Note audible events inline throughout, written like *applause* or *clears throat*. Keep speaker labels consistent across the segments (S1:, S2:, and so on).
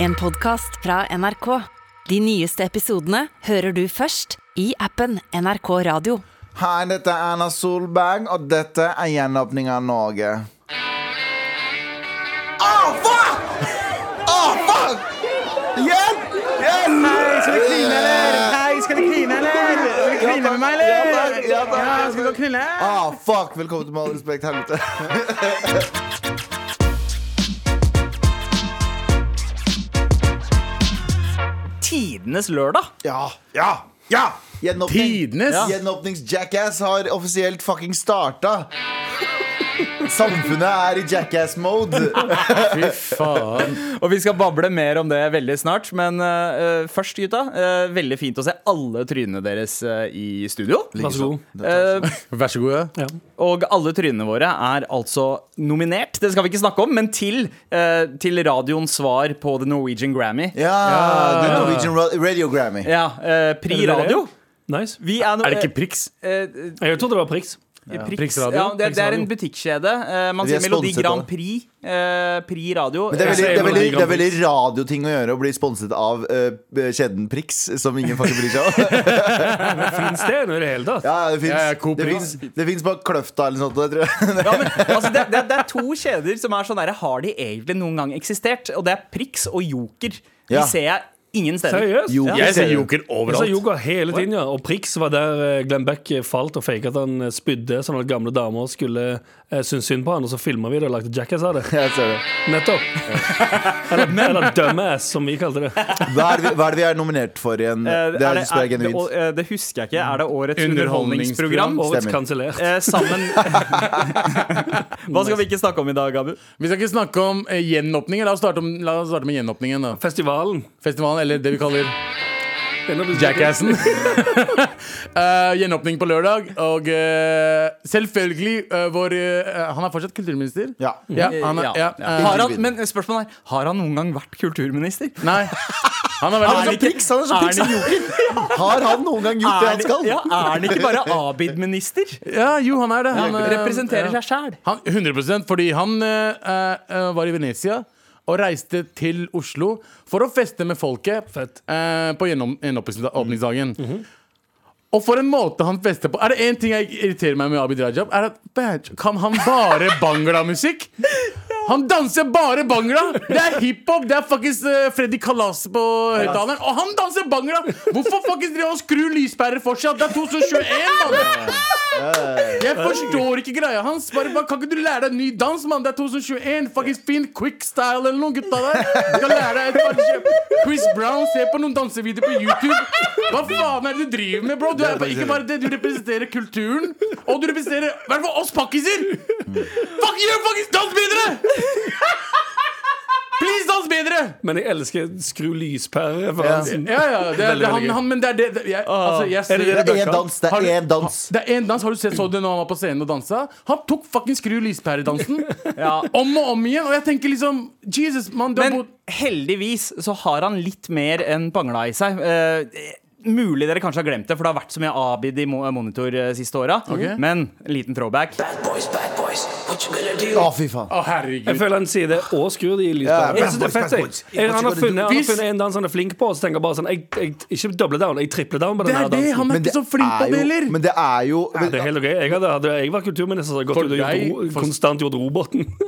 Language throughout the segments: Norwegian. S1: En podcast fra NRK. De nyeste episodene hører du først i appen NRK Radio.
S2: Hei, dette er Erna Solberg, og dette er gjenåpning av Norge. Åh, fuck! Åh, fuck! Hjelp! Hjelp!
S3: Hei, skal vi kline, eller? Hei, skal vi kline, eller? Skal vi kline med meg,
S2: Eh. Ja,
S3: eller?
S2: takk, ja, takk.
S3: Ja, skal vi gå og knulle?
S2: Åh, fuck! Velkommen til Med all respekt, helvete.
S3: Tidenes lørdag.
S2: Ja, ja, ja! Gjenåpning.
S3: Tidenes.
S2: Ja. Gjenåpnings-jackass har offisielt fucking starta. Samfunnet er i jackass-mode.
S4: Fy faen. Og vi skal bable mer om det veldig snart. Men eh, først, gutta. eh, veldig fint å se alle trynene deres eh, i studio.
S2: Vær så god.
S4: Eh,
S5: Vær så god. Ja.
S4: og alle trynene våre er altså nominert, det skal vi ikke snakke om, men til, eh, til radioens svar på The Norwegian Grammy.
S2: Ja, The Norwegian Ra- Radio Grammy.
S4: Ja, eh, Pri
S6: Er det det?
S4: Radio.
S6: Nice.
S4: Vi er, no
S5: Er det ikke Prix?
S4: eh,
S6: Jeg trodde det var priks.
S4: Prix,
S5: Prix
S4: radio.
S5: Radio.
S4: Ja, det, det er en
S6: Radio.
S4: butikkjede. Eh, man
S2: Vi er
S4: sier Melodi
S2: sponset av
S4: Grand
S2: det.
S4: Prix. eh, Pri Radio.
S2: Men det er veldig,
S6: Jeg
S2: det er
S6: ser
S2: veldig,
S6: Melodi
S2: det er
S6: Grand
S2: veldig radioting å gjøre å bli sponset av eh, kjeden Prix, som ingen faktisk bryr seg om.
S6: Fins det nå i det hele tatt?
S2: Ja, ja, det fins
S5: Ja, ja, Coop
S2: det
S5: Prix.
S2: finnes- det finnes på Kløfta eller noe sånt. Tror jeg. *laughs*
S4: Ja, men, altså, det, det, det er to kjeder som er sånn der Har de egentlig noen gang eksistert? Og det er Prix og Joker. De
S2: Ja.
S4: ser jeg ingen steder.
S6: Seriøst?
S2: Jo.
S6: Ja.
S2: Jeg
S5: Jeg
S2: ser
S5: ser
S2: det.
S5: Joker
S6: Jeg sa
S5: overalt.
S6: yoga hele tiden, ja. Og priks var der eh, Glenn Beck falt og faket at han eh, spydde, sånn at gamle damer skulle eh, synes synd på han, og så filma vi det og lagde Jackass av det. *laughs*
S2: Jeg ser det.
S6: Nettopp. Eller, eller Dumbass, som vi kalte det.
S2: Hva er, det vi, hva er det vi er nominert for igjen? Det
S4: Eh,
S2: er, det, spør jeg
S4: det,
S2: genuint.
S4: eh, det husker jeg ikke. Er det årets
S5: Underholdningsprogram?
S4: underholdningsprogram?
S2: Stemmer.
S6: Årets kansellert.
S4: Eh, sammen *laughs* Hva skal vi ikke snakke om i dag, Abu?
S5: Vi skal ikke snakke om eh, gjenåpningen. La oss starte, om, la oss starte med gjenåpningen. da
S6: Festivalen.
S5: Festivalen, eller det vi kaller
S6: Denne blir-
S5: Jackassen. *laughs* Eh, gjenåpning på lørdag. Og eh, selvfølgelig eh, vår eh, Han er fortsatt kulturminister?
S2: Ja.
S5: Ja, han er, ja, eh,
S4: Har han, men spørsmålet er Har han noen gang vært kulturminister?
S5: Nei. Han er veldig
S2: Han er så priks, han er så priks.
S4: han Joker?
S2: Har han noen gang gjort det
S4: Er
S2: han
S4: det-
S2: skal?
S4: ja, er han ikke bare
S2: *laughs*
S4: Abid-minister?
S5: Ja, jo, han er det. Han eh,
S4: Representerer
S5: ja.
S4: seg sjæl.
S5: Han, 100 fordi han eh, eh, var i Venezia og reiste til Oslo for å feste med folket
S6: Fett.
S5: eh, på gjennom- gjenåpningsdagen. Og for en måte han fester på Er det én ting jeg irriterer meg med Abid Rajab, er at bæ, kan han bare bangla-musikk? Han danser bare bangla! Det er hiphop, det er fuckings eh, Freddy Kalas på høyttaleren. Og han danser bangla! Hvorfor fuckings driver han og skrur lyspærer fortsatt? Det er 2021, mann! Jeg forstår ikke greia hans. Bare, bare, kan ikke du lære deg en ny dans, mann? Det er 2021. Fuckings fin quickstyle eller noen gutta der. Du kan lære deg et par kjøp- Chris Brown, se på noen dansevideoer på YouTube. Hva faen er det du driver med, bro? Du er ikke bare det, du representerer kulturen. Og du representerer i hvert fall oss pakkiser! Fuck, gjør fuckings dans bedre! Please, dans bedre!
S6: Men jeg elsker skru lyspære-referansen.
S5: Ja, ja, det er,
S6: Veldig,
S5: det, er
S6: veldig
S5: han,
S6: gøy.
S5: han, men det er det, det jeg, altså, jeg ser,
S6: det
S2: Det er én dans. Det
S5: Har
S2: er
S5: du-
S2: én dans.
S5: det er en dans, har du sett så det når han var på scenen og dansa? Han tok fucking skru *laughs* lyspæredansen
S4: Ja.
S5: om og om igjen. Og jeg tenker liksom Jesus, mann, du har
S4: Men
S5: bodd
S4: heldigvis så har han litt mer enn bangla i seg. Eh, mulig dere kanskje har glemt det, for det har vært så mye Abid i Mo- Monitor eh, siste åra. Men en liten throwback.
S2: Å, fy faen.
S5: Å, herregud.
S6: Jeg føler han sier det og skrur det i
S2: Ja,
S6: lyspæren. Jeg synes det er
S2: bad
S6: fett, jeg.
S2: boys, bad boys.
S6: Jeg- Han har
S2: What you
S6: funnet,
S2: gonna
S6: han
S2: do?
S6: har funnet en dans han er flink på, og så tenker jeg bare sånn jeg, jeg, Ikke doble down, jeg tripler down på
S5: Det
S6: den
S5: er
S6: her
S5: det!
S6: dansen.
S5: Han er ikke så flink på
S2: er
S5: det
S2: jo,
S5: heller.
S2: men det er jo men,
S6: Det er helt ok. Jeg, hadde, hadde jeg vært kulturminister, så hadde jeg
S5: For
S6: gått ut og gjort,
S5: deg-
S6: ro-
S5: for-
S6: konstant gjort roboten. *laughs*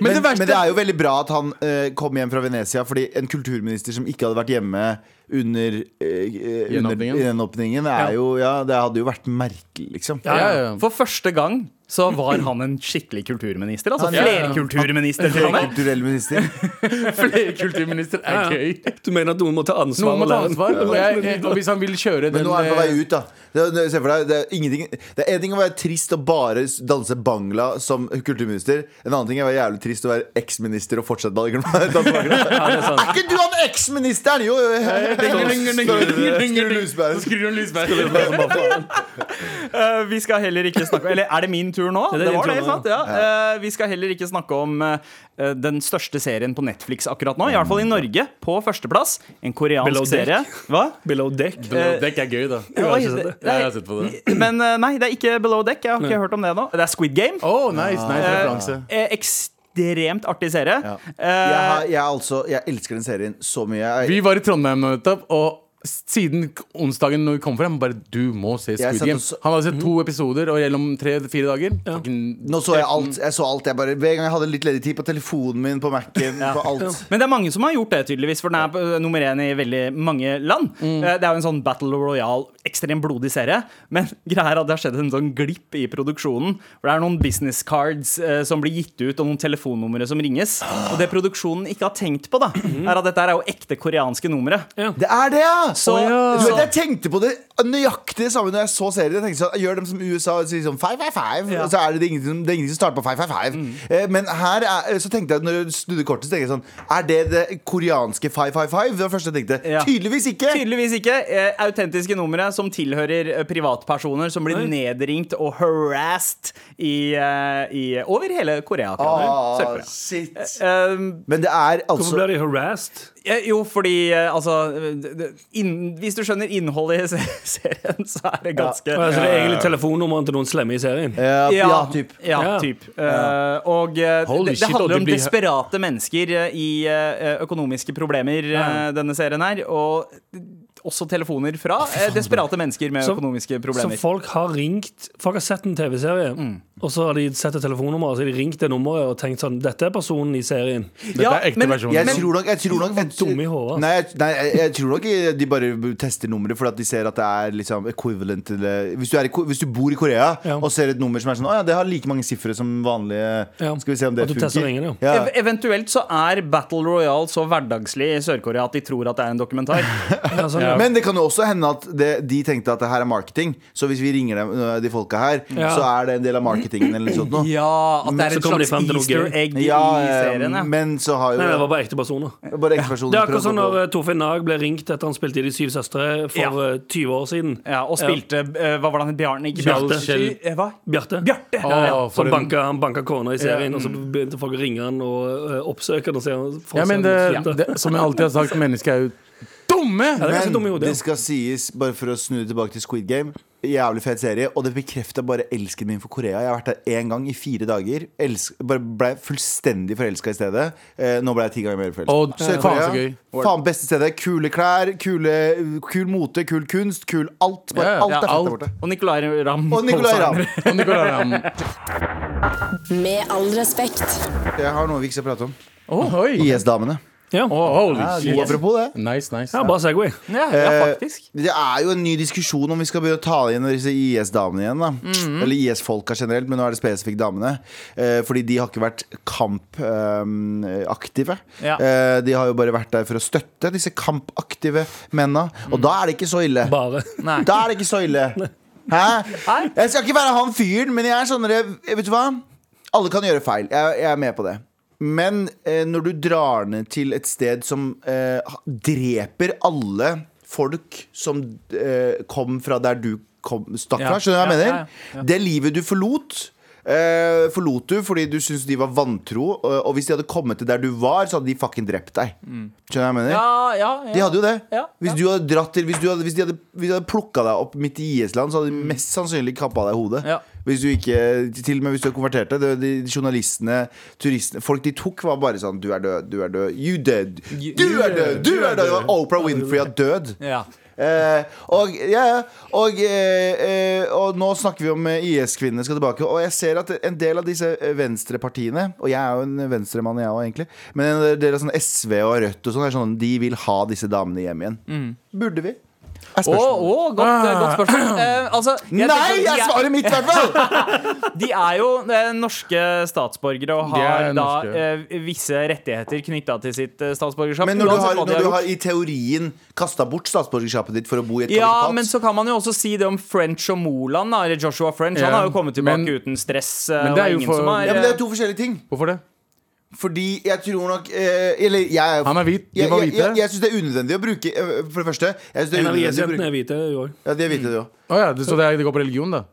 S2: men,
S5: det verste-
S2: men det er jo veldig bra at han eh, kom hjem fra Venezia, fordi en kulturminister som ikke hadde vært hjemme under, eh, eh, under
S5: Gjenåpningen.
S2: gjenåpningen, er jo Ja, det hadde jo vært merkelig, liksom.
S5: Ja, ja, ja.
S4: For første gang så var han en skikkelig kulturminister. Altså
S2: Han- ja, ja.
S4: flerkulturminister. til og med.
S2: Kulturell minister.
S5: Flerkulturminister er gøy.
S6: Du mener at noen må ta ansvar?
S5: Noen må ta
S6: og lære-
S5: ansvar. Og, jeg, jeg- og hvis han vil kjøre
S2: Men
S5: den
S2: nå er han på vei
S5: eh,
S2: ut, da. Det er, se for deg, det er ingenting Det er en ting å være trist og bare s- danse bangla som kulturminister. En annen ting er å være jævlig trist å være eksminister og fortsette å *laughs* danse bangla. *laughs* Er ikke du han eksministeren? Jo, jo,
S5: Så
S2: jo.
S5: skrur han lyspæra.
S4: Eh, vi skal heller ikke snakke Eller er det min tur nå?
S6: det er
S4: Det
S6: din
S4: var
S6: tur
S4: det,
S6: nå.
S4: sant? Ja. Eh, vi skal heller ikke snakke om eh, den største serien på Netflix akkurat nå. I hvert fall i Norge, på førsteplass. En koreansk
S6: Below Deck.
S4: serie. Hva?
S6: Below deck.
S4: Eh,
S5: Dekk er gøy, da.
S4: Oi,
S6: ikke sett
S4: det-
S6: det.
S5: Jeg har sett på
S4: *clears throat*
S5: det.
S4: Men eh, nei, det er ikke Below Deck. Jeg har ikke hørt om det ennå. Det er Squid Game.
S5: Oh, nice, nice
S4: Eh,
S5: referanse.
S4: eh, ekstremt ekstremt artig serie.
S2: Ja.
S4: Eh,
S2: Jeg, har, jeg, er altså, jeg elsker den serien så mye. Jeg,
S5: Vi var i Trondheim nå nettopp, og siden k- onsdagen når vi kom for dem, bare du må se
S2: Jeg satt
S5: Squid
S2: og
S5: Game.
S2: så-
S5: Han hadde sett to episoder og gjennom tre-fire dager. Fucking-
S2: nå så jeg alt. Jeg så alt jeg bare, hver gang jeg hadde litt ledig tid på telefonen min, på Mac-en, på alt.
S4: Men det er mange som har gjort det, tydeligvis, for den er eh, nummer én i veldig mange land. Eh, Det er jo en sånn Battle Royale, ekstremt blodig serie, men *laughs* greia er at det har skjedd en sånn glipp i produksjonen. For det er noen business cards eh, som blir gitt ut, og noen telefonnumre som ringes. Og det produksjonen ikke har tenkt på, da, er at dette er jo ekte koreanske numre.
S2: Det er det, ja!
S4: Så-
S2: Å, ja. Du
S4: så-
S2: vet, jeg tenkte på det nøyaktig det samme når jeg så serien. Jeg tenkte sånn, jeg Gjør dem som USA og sier sånn five, five, five.
S4: Ja.
S2: Og så er det, det, er ingen, som- det er ingen som starter på five, five, five. Eh, men her er, så tenkte jeg når jeg snudde kortet, så tenkte jeg sånn Er det det koreanske five, five, five? Det var det første jeg tenkte.
S4: Ja.
S2: Tydeligvis ikke!
S4: Tydeligvis ikke. Eh, autentiske numre som tilhører eh, privatpersoner som blir nedringt og harassed i, eh, i, over hele Korea.
S2: Ah,
S4: Sør-Korea.
S2: shit.
S4: Eh,
S2: Men det er
S6: Hvorfor
S2: altså
S6: blir de harassed?
S4: Eh, Jo, fordi eh, altså det- det- inn, Hvis du skjønner innholdet i *laughs* se- serien, så er det ganske
S6: Altså, det er egentlig telefonnummeret til noen slemme i serien.
S5: Eh,
S2: ja, Eh, ja, typ.
S4: ja,
S6: Ja.
S4: typ. Eh, og eh,
S5: Holy
S4: det,
S5: shit,
S4: det handler
S5: og
S4: om
S5: det blir-
S4: desperate mennesker eh, i eh, økonomiske problemer, eh, denne serien her. Og eh, også telefoner fra eh, desperate mennesker med
S6: Så-
S4: økonomiske
S6: Så
S4: problemer.
S6: folk har ringt Folk har sett en TV-serie,
S5: Mm.
S6: og så har de sett et telefonnummer, og så har de ringt det nummeret og tenkt sånn Dette er personen i serien.
S5: Dette
S4: Ja,
S5: er ekte
S4: men-
S5: versjonen.
S2: Jeg
S5: nå.
S2: tror nok, jeg tror nok
S6: Dumme i hodet. altså.
S2: Nei, jeg, nei, jeg- jeg tror nok de bare tester nummeret fordi at de ser at det er liksom equivalent til det. Hvis du, er i, Ko- hvis du bor i Korea
S6: Ja.
S2: og ser et nummer som er sånn Å ja, det har like mange sifre som vanlige
S6: Ja.
S2: Skal vi se om det
S6: At du
S2: funker.
S6: tester ringene,
S2: ja.
S4: Ev eventuelt så er Battle Royale så hverdagslig i Sør-Korea at de tror at det er en
S2: *laughs*
S4: dokumentar.
S6: Ja, sånn, ja.
S2: Men det kan jo også hende at det, de tenkte at det her er marketing. Så hvis vi ringer dem, øh, de folka her,
S6: Ja.
S2: så er det en del av marketingen eller noe sånt noe.
S4: Ja, at det er
S6: så
S4: en
S6: kommer de
S4: slags
S6: frem til noe
S4: easter
S6: gøy.
S4: egg i
S2: Ja, eh,
S4: serien. ja.
S2: men så har jo
S6: Nei, det var bare ekte personer.
S2: bare enkeltpersoner
S6: Det er akkurat
S2: prøvd
S6: som
S2: å-
S6: når eh, Torfinn Nag ble ringt etter han spilte i De syv søstre for
S4: Ja.
S6: eh, 20 år siden.
S4: Ja, og spilte eh, Hva var det han het? Bjarne? Ikke
S6: Bjarte.
S4: Bjarte. Eh, Hva?
S6: Bjarte.
S4: Bjarte!
S5: Å,
S6: Ja, ja. Så
S5: for en-
S6: banka, han banka kona i serien, og så begynte folk å ringe han og eh, oppsøke han. Og se, han- for å
S5: Ja, men
S6: se han
S5: det,
S6: spilte.
S5: det, som jeg alltid har sagt, mennesker er jo dumme!
S6: Ja, det er ganske dum i
S2: Men
S6: hodet.
S2: det skal sies, bare for å snu det tilbake til Squid Game Jævlig fet serie, og det bekrefter bare elsken min for Korea. Jeg har vært der én gang i fire dager. Elsk, bare ble fullstendig forelska i stedet. Eh, nå ble jeg ti ganger mer forelska.
S5: Å, faen, så gøy.
S2: Faen beste stedet. Kule klær, kule, kul mote, kul kunst, kul alt. Bare
S5: Ja, ja.
S2: alt er
S5: Ja,
S2: fett
S5: alt.
S2: der borte.
S4: Og Nicolay Ramm.
S2: Og Nicolay
S4: Poulsen.
S2: Ramm.
S5: Og Nicolai Ramm.
S7: Med all respekt.
S2: Jeg har noe vi ikke skal prate om.
S5: Å, oi.
S2: IS-damene.
S6: ja.
S5: Å, holy
S2: Og
S5: shit.
S2: Apropos det.
S5: Nice, nice.
S6: ja, bra Segway.
S4: Ja, ja, faktisk.
S2: Eh, Det er jo en ny diskusjon om vi skal begynne å ta igjen disse IS-damene igjen. Da.
S4: Mhm.
S2: Eller IS-folka generelt, men nå er det spesifikt damene. Eh, fordi de har ikke vært kampaktive.
S4: Ja.
S2: eh, de har jo bare vært der for å støtte disse kampaktive mennene.
S4: Mm.
S2: Og da er det ikke så ille.
S6: Bare.
S4: Nei.
S2: Da er det ikke så ille. Hæ? Jeg skal ikke være han fyren, men jeg er sånn jeg- Vet du hva? Alle kan gjøre feil. Jeg, jeg er med på det. Men eh, når du drar ned til et sted som eh, ha- dreper alle folk som eh, kom fra der du kom, stakk
S4: Ja.
S2: fra, skjønner du hva jeg
S4: Ja,
S2: mener?
S4: ja, ja.
S2: Det livet du forlot eh, forlot du fordi du syntes de var vantro, og, og hvis de hadde kommet til der du var, så hadde de fucking drept deg. Skjønner du hva jeg mener?
S4: Mm. Ja, ja, ja.
S2: De hadde jo det.
S4: Ja,
S2: Hvis du hadde dratt til Hvis, du hadde, hvis de hadde, hvis de hadde plukka deg opp midt i IS-land, så hadde de mest sannsynlig kappa deg i hodet.
S4: Mm. Ja.
S2: Hvis du ikke Til og med hvis du hadde konvertert deg. det- De, de journalistene, turistene Folk de tok, var bare sånn Du er død, du er død. You dead. Du er død, du er død. Oprah Winfrey er død.
S4: Ja.
S2: Eh, og, ja, ja. og, eh, eh, og nå snakker vi om eh, IS-kvinnene skal tilbake. Og jeg ser at en del av disse eh, venstrepartiene, og jeg er jo en venstremann, jeg òg, egentlig, men en del av sånn SV og Rødt og sånn, er sånn de vil ha disse damene hjem igjen.
S4: Mm.
S2: Burde vi? Er
S4: Å,
S2: spørsmålet.
S4: å, godt, eh, godt spørsmål. Eh, altså, jeg
S2: Nei,
S4: tenker at
S2: jeg
S4: de er-
S2: svarer mitt, i hvert fall!
S4: *laughs* De er jo eh, norske statsborgere og
S5: De
S4: har
S5: er
S4: da
S5: norske.
S4: eh, visse rettigheter knytta til sitt eh, statsborgerskap.
S2: Men når du
S4: uansett
S2: har,
S4: hva de
S2: når du
S4: gjort.
S2: har i teorien kasta bort statsborgerskapet ditt for å bo i et
S4: Ja,
S2: kalifat
S4: men så kan man jo også si det om French og Moland, da, eller Joshua French. Han
S5: Ja,
S4: har jo kommet tilbake
S5: men-
S4: uten stress. eh,
S5: men det er
S4: og
S5: jo
S4: ingen
S5: for-
S4: som har,
S2: ja, men Det
S4: eh,
S2: er to forskjellige ting.
S5: Hvorfor det?
S2: Fordi jeg tror nok eh, Eller jeg er
S5: Han er hvit, de
S2: Jeg,
S5: var
S2: jeg, jeg,
S5: hvite.
S2: jeg syns det er unødvendig å bruke eh, For det første. Jeg synes det er
S6: En av
S2: unødvendig å
S6: IS-jentene
S2: bruke
S6: er hvite. jo også.
S4: Mm.
S2: Ja, det vet du jo.
S5: Å ja, det- så det, er- det går på religion, da?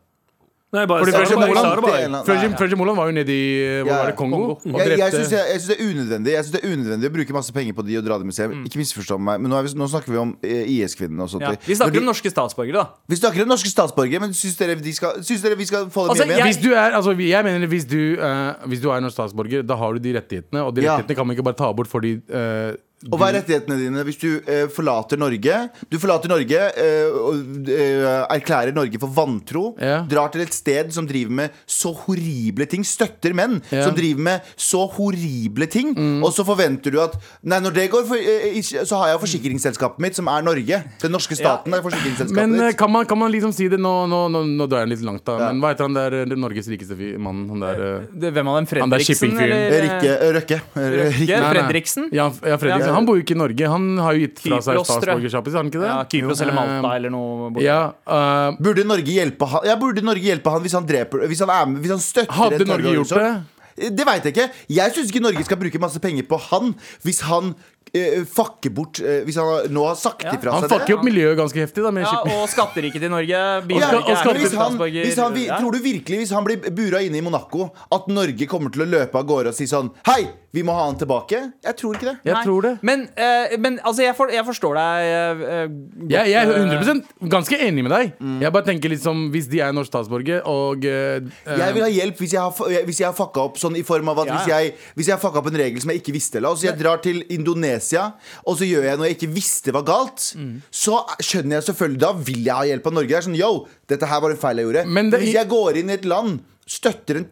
S6: Nei, jeg bare
S5: Fordi
S6: sa det
S5: Fredrik
S6: bare. Jeg sa
S5: Moland-
S6: det bare.
S2: Nei,
S5: Fredrik
S2: ja.
S5: Fredrik Moland var jo nede i eh, hvor
S2: Ja,
S5: var det, Kongo.
S6: Kongo.
S5: Og
S2: Jeg, jeg,
S5: drepte
S2: synes, jeg, jeg synes det er unødvendig Jeg synes det er unødvendig å bruke masse penger på de og dra til museum. Ikke misforstå meg, men nå, er vi, nå snakker vi om eh, IS-kvinnene og sånt.
S4: Mm. Ja. Vi snakker om norske statsborgere, da.
S2: vi snakker om norske statsborgere, men syns dere, de skal, syns dere vi skal få dem
S4: Altså,
S2: hjem igjen?
S5: Hvis du er, altså, vi- jeg mener hvis du, eh, hvis du er norsk statsborger, da har du de rettighetene. Og de
S2: Ja.
S5: rettighetene kan man ikke bare ta bort fordi eh,
S2: Og hva er rettighetene dine hvis du eh, forlater Norge? Du forlater Norge eh, og eh, erklærer Norge for vantro.
S5: Ja.
S2: Drar til et sted som driver med så horrible ting. Støtter menn
S5: Ja. Mm.
S2: som driver med så horrible ting. Og så forventer du at Nei, når det går, for, eh, ikke- så har jeg forsikringsselskapet mitt, som er Norge. Den norske staten er forsikringsselskapet
S5: Men eh,
S2: ditt.
S5: kan man, kan man liksom si det Nå, nå, nå, nå drar jeg litt langt, da.
S2: Ja.
S5: Men hva heter han der eh, Norges rikeste fy- mann? Han der eh,
S4: Det, hvem av dem?
S5: Han der
S4: Fredriksen?
S5: shippingfyren.
S4: eller, eh,
S2: Rikke, Røkke.
S4: Røkke?
S2: Røkke.
S5: nei, nei.
S4: Fredriksen?
S5: Ja, f- ja, Fredriksen.
S4: Ja.
S5: Han bor jo ikke i Norge. Han har jo gitt fra seg
S4: Kypros, tror jeg.
S5: statsborgerskapet, har han ikke det?
S4: Ja, Kypros
S2: eh,
S4: eller Malta eller noe. borte.
S5: Eh, ja, eh,
S2: Burde Norge hjelpe han, ja, burde Norge hjelpe han hvis han dreper Hvis han, er med, hvis han støtter
S5: hadde
S2: en
S5: Norge gjort
S2: terrororganisasjon?
S5: det?
S2: Det veit jeg ikke. Jeg syns ikke Norge skal bruke masse penger på han hvis han eh, fucker bort eh, Hvis han har- nå har sagt ifra
S5: Han
S2: seg
S5: fucker
S2: det.
S5: jo opp miljøet ganske heftig, da. Med
S4: Ja,
S5: shipping.
S4: og skatteriket til Norge.
S2: Ja,
S4: Bidrar
S5: og
S4: ikke, er
S5: skatter-
S2: men
S4: ikke
S2: hvis han,
S4: statsborger.
S2: hvis han, vi-
S4: Ja.
S2: tror du virkelig hvis han blir bura inne i Monaco, at Norge kommer til å løpe av gårde og si sånn Hei, vi må ha han tilbake? Jeg tror ikke det.
S5: Jeg
S4: Nei.
S5: tror det.
S4: Men, eh, men altså, jeg, for, jeg forstår deg eh, eh, godt,
S5: Jeg, jeg er
S4: eh,
S5: 100 ganske enig med deg.
S4: Mm.
S5: Jeg bare tenker liksom Hvis de er norsk statsborger og eh,
S2: Jeg vil ha hjelp hvis jeg har, fa- hvis jeg har fucka opp sånn i form av at
S4: Ja,
S2: hvis,
S4: ja.
S2: jeg, hvis jeg har fucka opp en regel som jeg ikke visste La oss si jeg drar til Indonesia, og så gjør jeg noe jeg ikke visste var galt.
S4: Mm.
S2: Så skjønner jeg selvfølgelig Da vil jeg ha hjelp av Norge. Det er sånn, yo, dette her var en feil jeg gjorde.
S5: Men
S2: Men
S5: det-
S2: hvis jeg går inn i et land Støtter en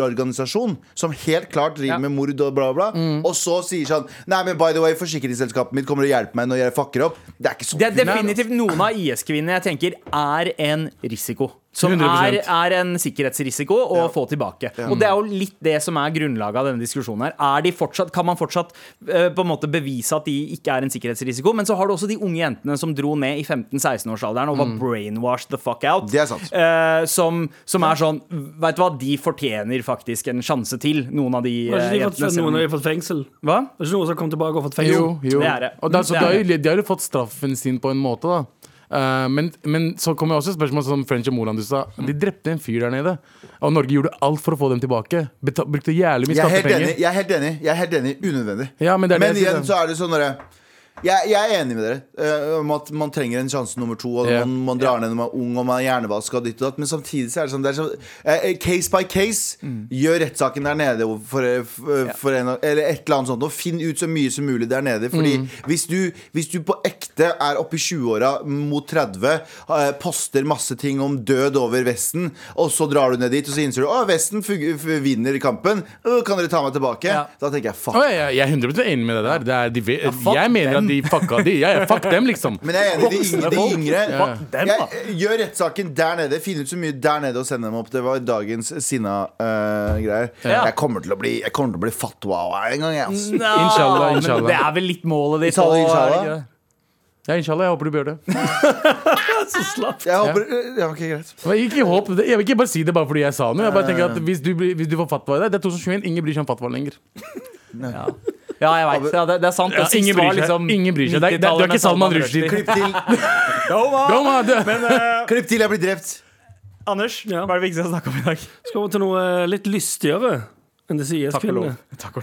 S2: terrororganisasjon som helt klart driver
S4: Ja. Mm.
S2: med mord og bla, bla, og så sier sånn Nei, men by the way, forsikringsselskapet mitt kommer og hjelper meg når jeg fucker opp. Det er ikke sånn.
S4: Det er definitivt noen av IS-kvinnene jeg tenker er en risiko. Som er,
S5: 100%.
S4: er en sikkerhetsrisiko å få tilbake. Og det er jo litt det som er grunnlaget av denne diskusjonen her. Er de fortsatt, kan man fortsatt eh, på en måte bevise at de ikke er en sikkerhetsrisiko? Men så har du også de unge jentene som dro ned i 15-16-årsalderen og var brainwashed the fuck out.
S2: Det er sant.
S4: Eh, som, som er sånn Vet du hva, de fortjener faktisk en sjanse til, noen av de eh,
S6: Har ikke de fått,
S4: jentene. selv om-
S6: noen har de fått fengsel?
S4: Hva?
S6: Det er ikke noen som har kommet tilbake og fått fengsel?
S5: Jo, jo.
S4: Det er det.
S5: Og da, så
S4: Det
S5: de, har
S4: er
S5: jo, de har jo fått straffen sin på en måte, da. Eh, men, men så kommer også spørsmål som French og Moland du sa. De
S4: Mm.
S5: drepte en fyr der nede. Og Norge gjorde alt for å få dem tilbake. Beta brukte jævlig mye
S2: Jeg er, helt
S5: skattepenger.
S2: enig, jeg er helt enig. Jeg er helt enig, Unødvendig.
S5: Ja, men det er det jeg
S2: igjen
S5: sier.
S2: så er det sånn derre jeg, jeg er enig med dere eh, om at man trenger en sjanse nummer to. Og
S5: Ja.
S2: man, man drar ned når man er ung og man er hjernevaska. og ditt og datt, Men samtidig så er det sånn, det er sånn eh, eh, Case by case. Gjør rettssaken der nede for, eh, f- eh, for en, av- eller et eller annet sånt. Og finn ut så mye som mulig der nede. Fordi hvis, du, hvis du på ekte er oppe i 20-åra mot 30, eh, poster masse ting om død over Vesten, og så drar du ned dit og så innser du at Vesten fug- f- vinner kampen, Å, kan dere ta meg tilbake? Da tenker jeg fuck.
S5: Å, jeg, jeg- jeg er 100 enig med deg der. Det er, de, ve-
S4: fuck
S5: jeg mener
S4: dem.
S5: at de fucka de. Ja, ja, fuck dem, liksom.
S4: *laughs*
S2: Men jeg er enig, de yngre, de
S4: folk.
S2: yngre
S4: Fuck dem,
S2: jeg,
S4: da.
S2: Gjør rettssaken der nede. Finn ut så mye der nede og send dem opp. Det var dagens sinna-greier.
S4: Ja.
S2: Jeg kommer til å bli Jeg kommer til å bli fatwa en gang, jeg. ass.
S4: Nei,
S5: Inshallah,
S4: men
S5: inshallah.
S4: Det er vel litt målet ditt.
S2: Inshallah,
S4: også, er det
S2: inshallah.
S4: ikke det?
S5: Ja, inshallah, jeg håper du gjør det.
S2: Jeg håper Ja, ok, greit.
S5: Men Ikke håp, det- jeg vil ikke bare si det bare fordi jeg sa noe. Jeg bare tenker at Hvis du, blir, hvis du får fatwa i deg Det er 2021, ingen bryr seg om fatwa lenger.
S4: Ja, jeg vet, ja, det, det er sant.
S5: Ja, ingen bryr seg. Ingen bryr seg. Det er- det er- du er ikke Salman Rushdie.
S2: Klipp til.
S5: Kom, da, du.
S2: Klipp til jeg blir drept.
S4: Anders,
S6: Ja.
S4: hva er det vi ikke skal snakke om i dag?
S6: Skal vi til noe eh, litt lystigere enn disse IS-kvinnene?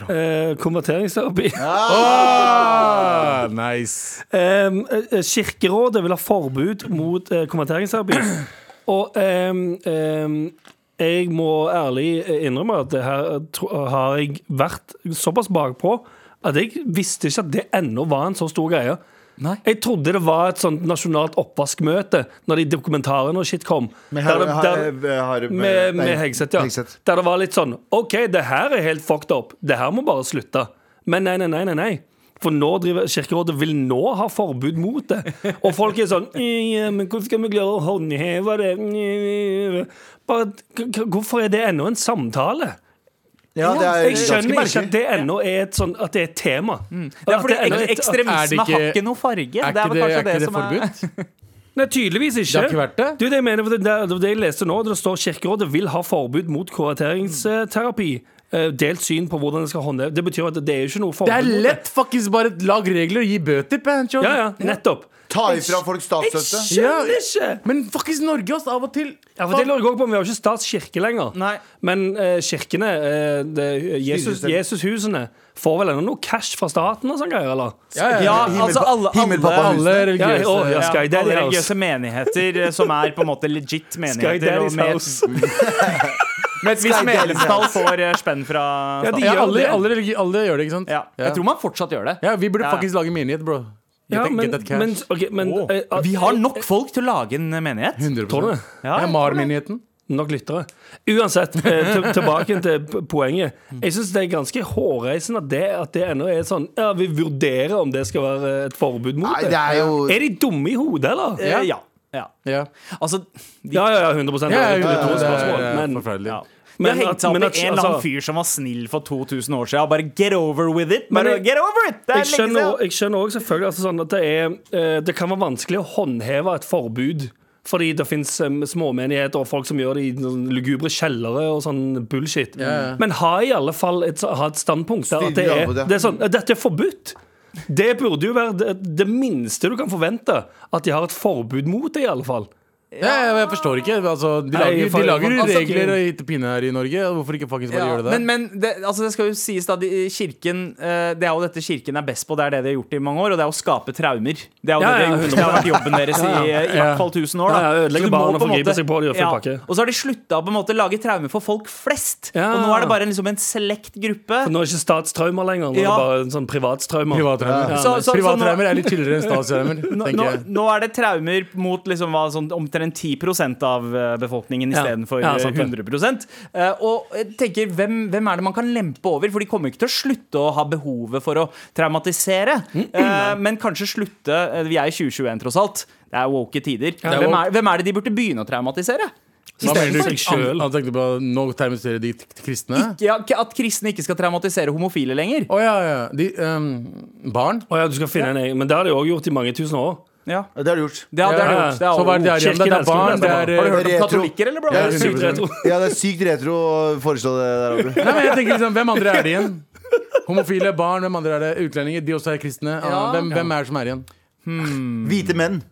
S6: Eh, konverteringsterapi.
S5: Ah, nice.
S6: Em, eh, kirkerådet vil ha forbud mot eh, konverteringsterapi. Og em, em, jeg må ærlig eh, innrømme at det her tro- eh, har jeg vært såpass bakpå at jeg visste ikke at det ennå var en så stor greie.
S4: Nei.
S6: Jeg trodde det var et sånt nasjonalt oppvaskmøte når de dokumentarene og shit kom. Der det- der-
S2: eh,
S6: med, med Hegseth, ja. Der det var litt sånn OK, det her er helt fucked up. Det her må bare slutte. Men nei, nei, nei. nei, nei. For nå driver Kirkerådet vil nå ha forbud mot det. Og folk er sånn *laughs* «Ja, Men hvordan skal vi klare å håndheve det? Bare, k- k- hvorfor er det ennå en samtale?
S2: Ja, det er
S6: Jeg
S2: Eh, ganske
S6: skjønner ikke
S2: merkelig.
S6: at det ennå er et, sånn, at det er et tema.
S4: Det er fordi
S6: At Mm. det ennå er et- at-
S5: er det
S4: ekstremisme
S5: ikke-
S4: har ikke noe farge.
S5: Er ikke
S4: vel
S5: det,
S4: kanskje
S5: er ikke det
S4: som er-
S5: forbudt?
S6: Nei, tydeligvis ikke.
S5: Det har ikke vært det?
S6: Du, det jeg mener, for det, det, det jeg leste nå, det står Kirkerådet vil ha forbud mot kurateringsterapi. Eh, Delt syn på hvordan det skal håndheve. Det betyr at det er jo ikke noe forbud.
S5: Det er
S6: mot
S5: lett fuckings bare lag regler og gi bøter. Pancho.
S6: Ja, ja, nettopp.
S2: Ta ifra folk statsstøtte.
S6: Jeg skjønner ikke!
S5: Men fuckings Norge, ass, av og til.
S6: Ja, for det lurer jeg også på, Vi har jo ikke statskirke lenger.
S4: Nei.
S6: Men eh, kirkene, eh, det- Jesus-
S2: Styresett.
S6: Jesushusene, får vel ennå noe cash fra staten og sånn greier, eller?
S4: Ja, altså alle, alle,
S2: Himmelpappa
S5: Alle
S2: husene.
S6: *laughs* Ja,
S5: religiøse
S6: å, ja,
S4: ja,
S6: Sky Daddy
S4: alle
S6: House.
S4: religiøse menigheter eh, som er på en måte legit
S6: Sky
S4: menigheter. og
S6: Daddy's
S4: med-
S6: House.
S4: Med et visst medlemstall får eh, spenn fra
S6: Ja, de
S4: staten.
S5: ja,
S6: gjør
S5: alle,
S6: det.
S5: alle, religi alle gjør det, ikke sant?
S4: Ja. Jeg tror man fortsatt gjør det.
S5: Ja, Vi burde
S4: Ja.
S5: fuckings lage menighet, bro. Get,
S6: Ja,
S5: that-
S6: men,
S5: get that cash.
S6: men, ok, men
S4: Åh.
S6: eh, at-
S4: Vi har nok folk til å lage en eh, menighet.
S5: 100
S6: Tror du det?
S5: Ja,
S4: jeg tror det.
S5: Mar-menigheten.
S6: Nok lyttere. Uansett, eh, til, tilbake til p- poenget.
S5: Mm.
S6: Jeg syns det er ganske hårreisende at det, at det ennå er sånn Ja, vi vurderer om det skal være eh, et forbud mot
S2: Nei,
S6: det.
S2: det er jo
S6: Er de dumme i hodet, eller?
S4: Eh, Ja. ja.
S5: Ja.
S4: Altså, de
S6: Ja, ja, ja, 100
S5: Ja,
S6: det er
S5: ja,
S6: to
S5: ja,
S6: spørsmål,
S5: ja, ja,
S6: men-
S5: forferdelig.
S4: ja.
S6: men
S4: det
S6: at-
S4: hengte seg opp
S6: men
S4: i en
S6: at-
S4: eller annen
S6: altså-
S4: fyr som var snill for 2000 år siden. Bare get over with it!
S6: Men
S4: Bare
S6: jeg-
S4: get over it! Det
S6: Jeg
S4: er lenge
S6: skjønner, også-
S4: siden.
S6: jeg skjønner også selvfølgelig altså sånn at det, er, eh, det kan være vanskelig å håndheve et forbud. Fordi det fins småmenigheter og folk som gjør det i sånn lugubre kjellere og sånn bullshit. Men ha i alle fall et, så- ha et standpunkt der at det
S2: Stille
S6: er,
S2: over det.
S6: det er sånn, dette er forbudt. Det burde jo være det, det minste du kan forvente. At de har et forbud mot det, i alle fall.
S5: Ja, ja, men jeg forstår ikke. Altså, de
S6: Nei,
S5: lager,
S6: for-
S5: de lager
S6: altså,
S5: regler og gitt pinne her i Norge. Hvorfor ikke faktisk bare
S4: Ja,
S5: gjøre det der?
S4: Men, men det, altså det skal jo sies da de- Kirken eh, Det er jo dette kirken er best på. Det er det de har gjort i mange år, og det er å skape traumer. Det er jo
S6: Ja,
S4: det, de
S6: ja,
S4: har gjort. det har vært jobben deres i, i hvert fall 1000 år. Da.
S6: Ja, ja, ødelegge
S4: Så du må
S6: barn og
S4: på en
S6: forgripe
S4: måte-
S6: seg på de og full pakke.
S4: Og så har de slutta å på en måte lage traumer for folk flest.
S6: Ja.
S4: Og nå er det bare en, liksom en select gruppe.
S6: For nå er det ikke statstraumer lenger. Nå er det
S4: Ja.
S6: bare en sånn privatstraumer.
S5: Privatraumer
S4: Så- så- så nå-
S5: Privatraumer er litt chillere enn statstraumer,
S4: Nå,
S5: tenker
S4: nå,
S5: jeg.
S4: nå er det traumer mot liksom, hva, sånn, omtrent 10 av eh, befolkningen
S6: Ja.
S4: istedenfor
S6: Ja,
S4: eh,
S6: sant det.
S4: 100 Eh, Og jeg tenker, hvem, hvem er det man kan lempe over? For de kommer ikke til å slutte å ha behovet for å traumatisere.
S6: *clears throat*
S4: Eh, men kanskje slutte eh, Vi er i 2021, tross alt. Det er woke tider.
S6: det er
S4: hvem,
S6: woke.
S4: er, hvem er det de burde begynne å traumatisere?
S5: Hva mener
S6: seg
S5: du?
S6: selv.
S5: Han, han tenkte på nå termiserer de t- kristne?
S4: Ja, ikke at kristne ikke skal traumatisere homofile lenger.
S5: Å ja, ja. De, ehm, barn?
S6: Å ja, du skal finne en egen. Men det har de òg gjort i mange tusen år.
S4: Ja.
S2: Ja, Det har du gjort.
S4: Det, er- det er det
S6: Ja,
S4: gjort. Det er
S5: Så hva er
S4: woke.
S5: det der igjen? Det
S6: Kirken
S5: er barn,
S6: elsker
S5: det
S6: det,
S5: er
S4: Har du hørt om
S2: Retro.
S4: katolikker, eller, bro?
S2: Ja,
S6: Sykt
S2: det er
S6: retro.
S2: sykt- ja, det er sykt retro å foreslå det der, Abu.
S5: Nei, men jeg tenker liksom, Hvem andre er det igjen? Homofile, barn, hvem andre er det? Utlendinger, de også er kristne. Ah, hvem, hvem er det som er igjen?
S6: Mm.
S2: Hvite menn.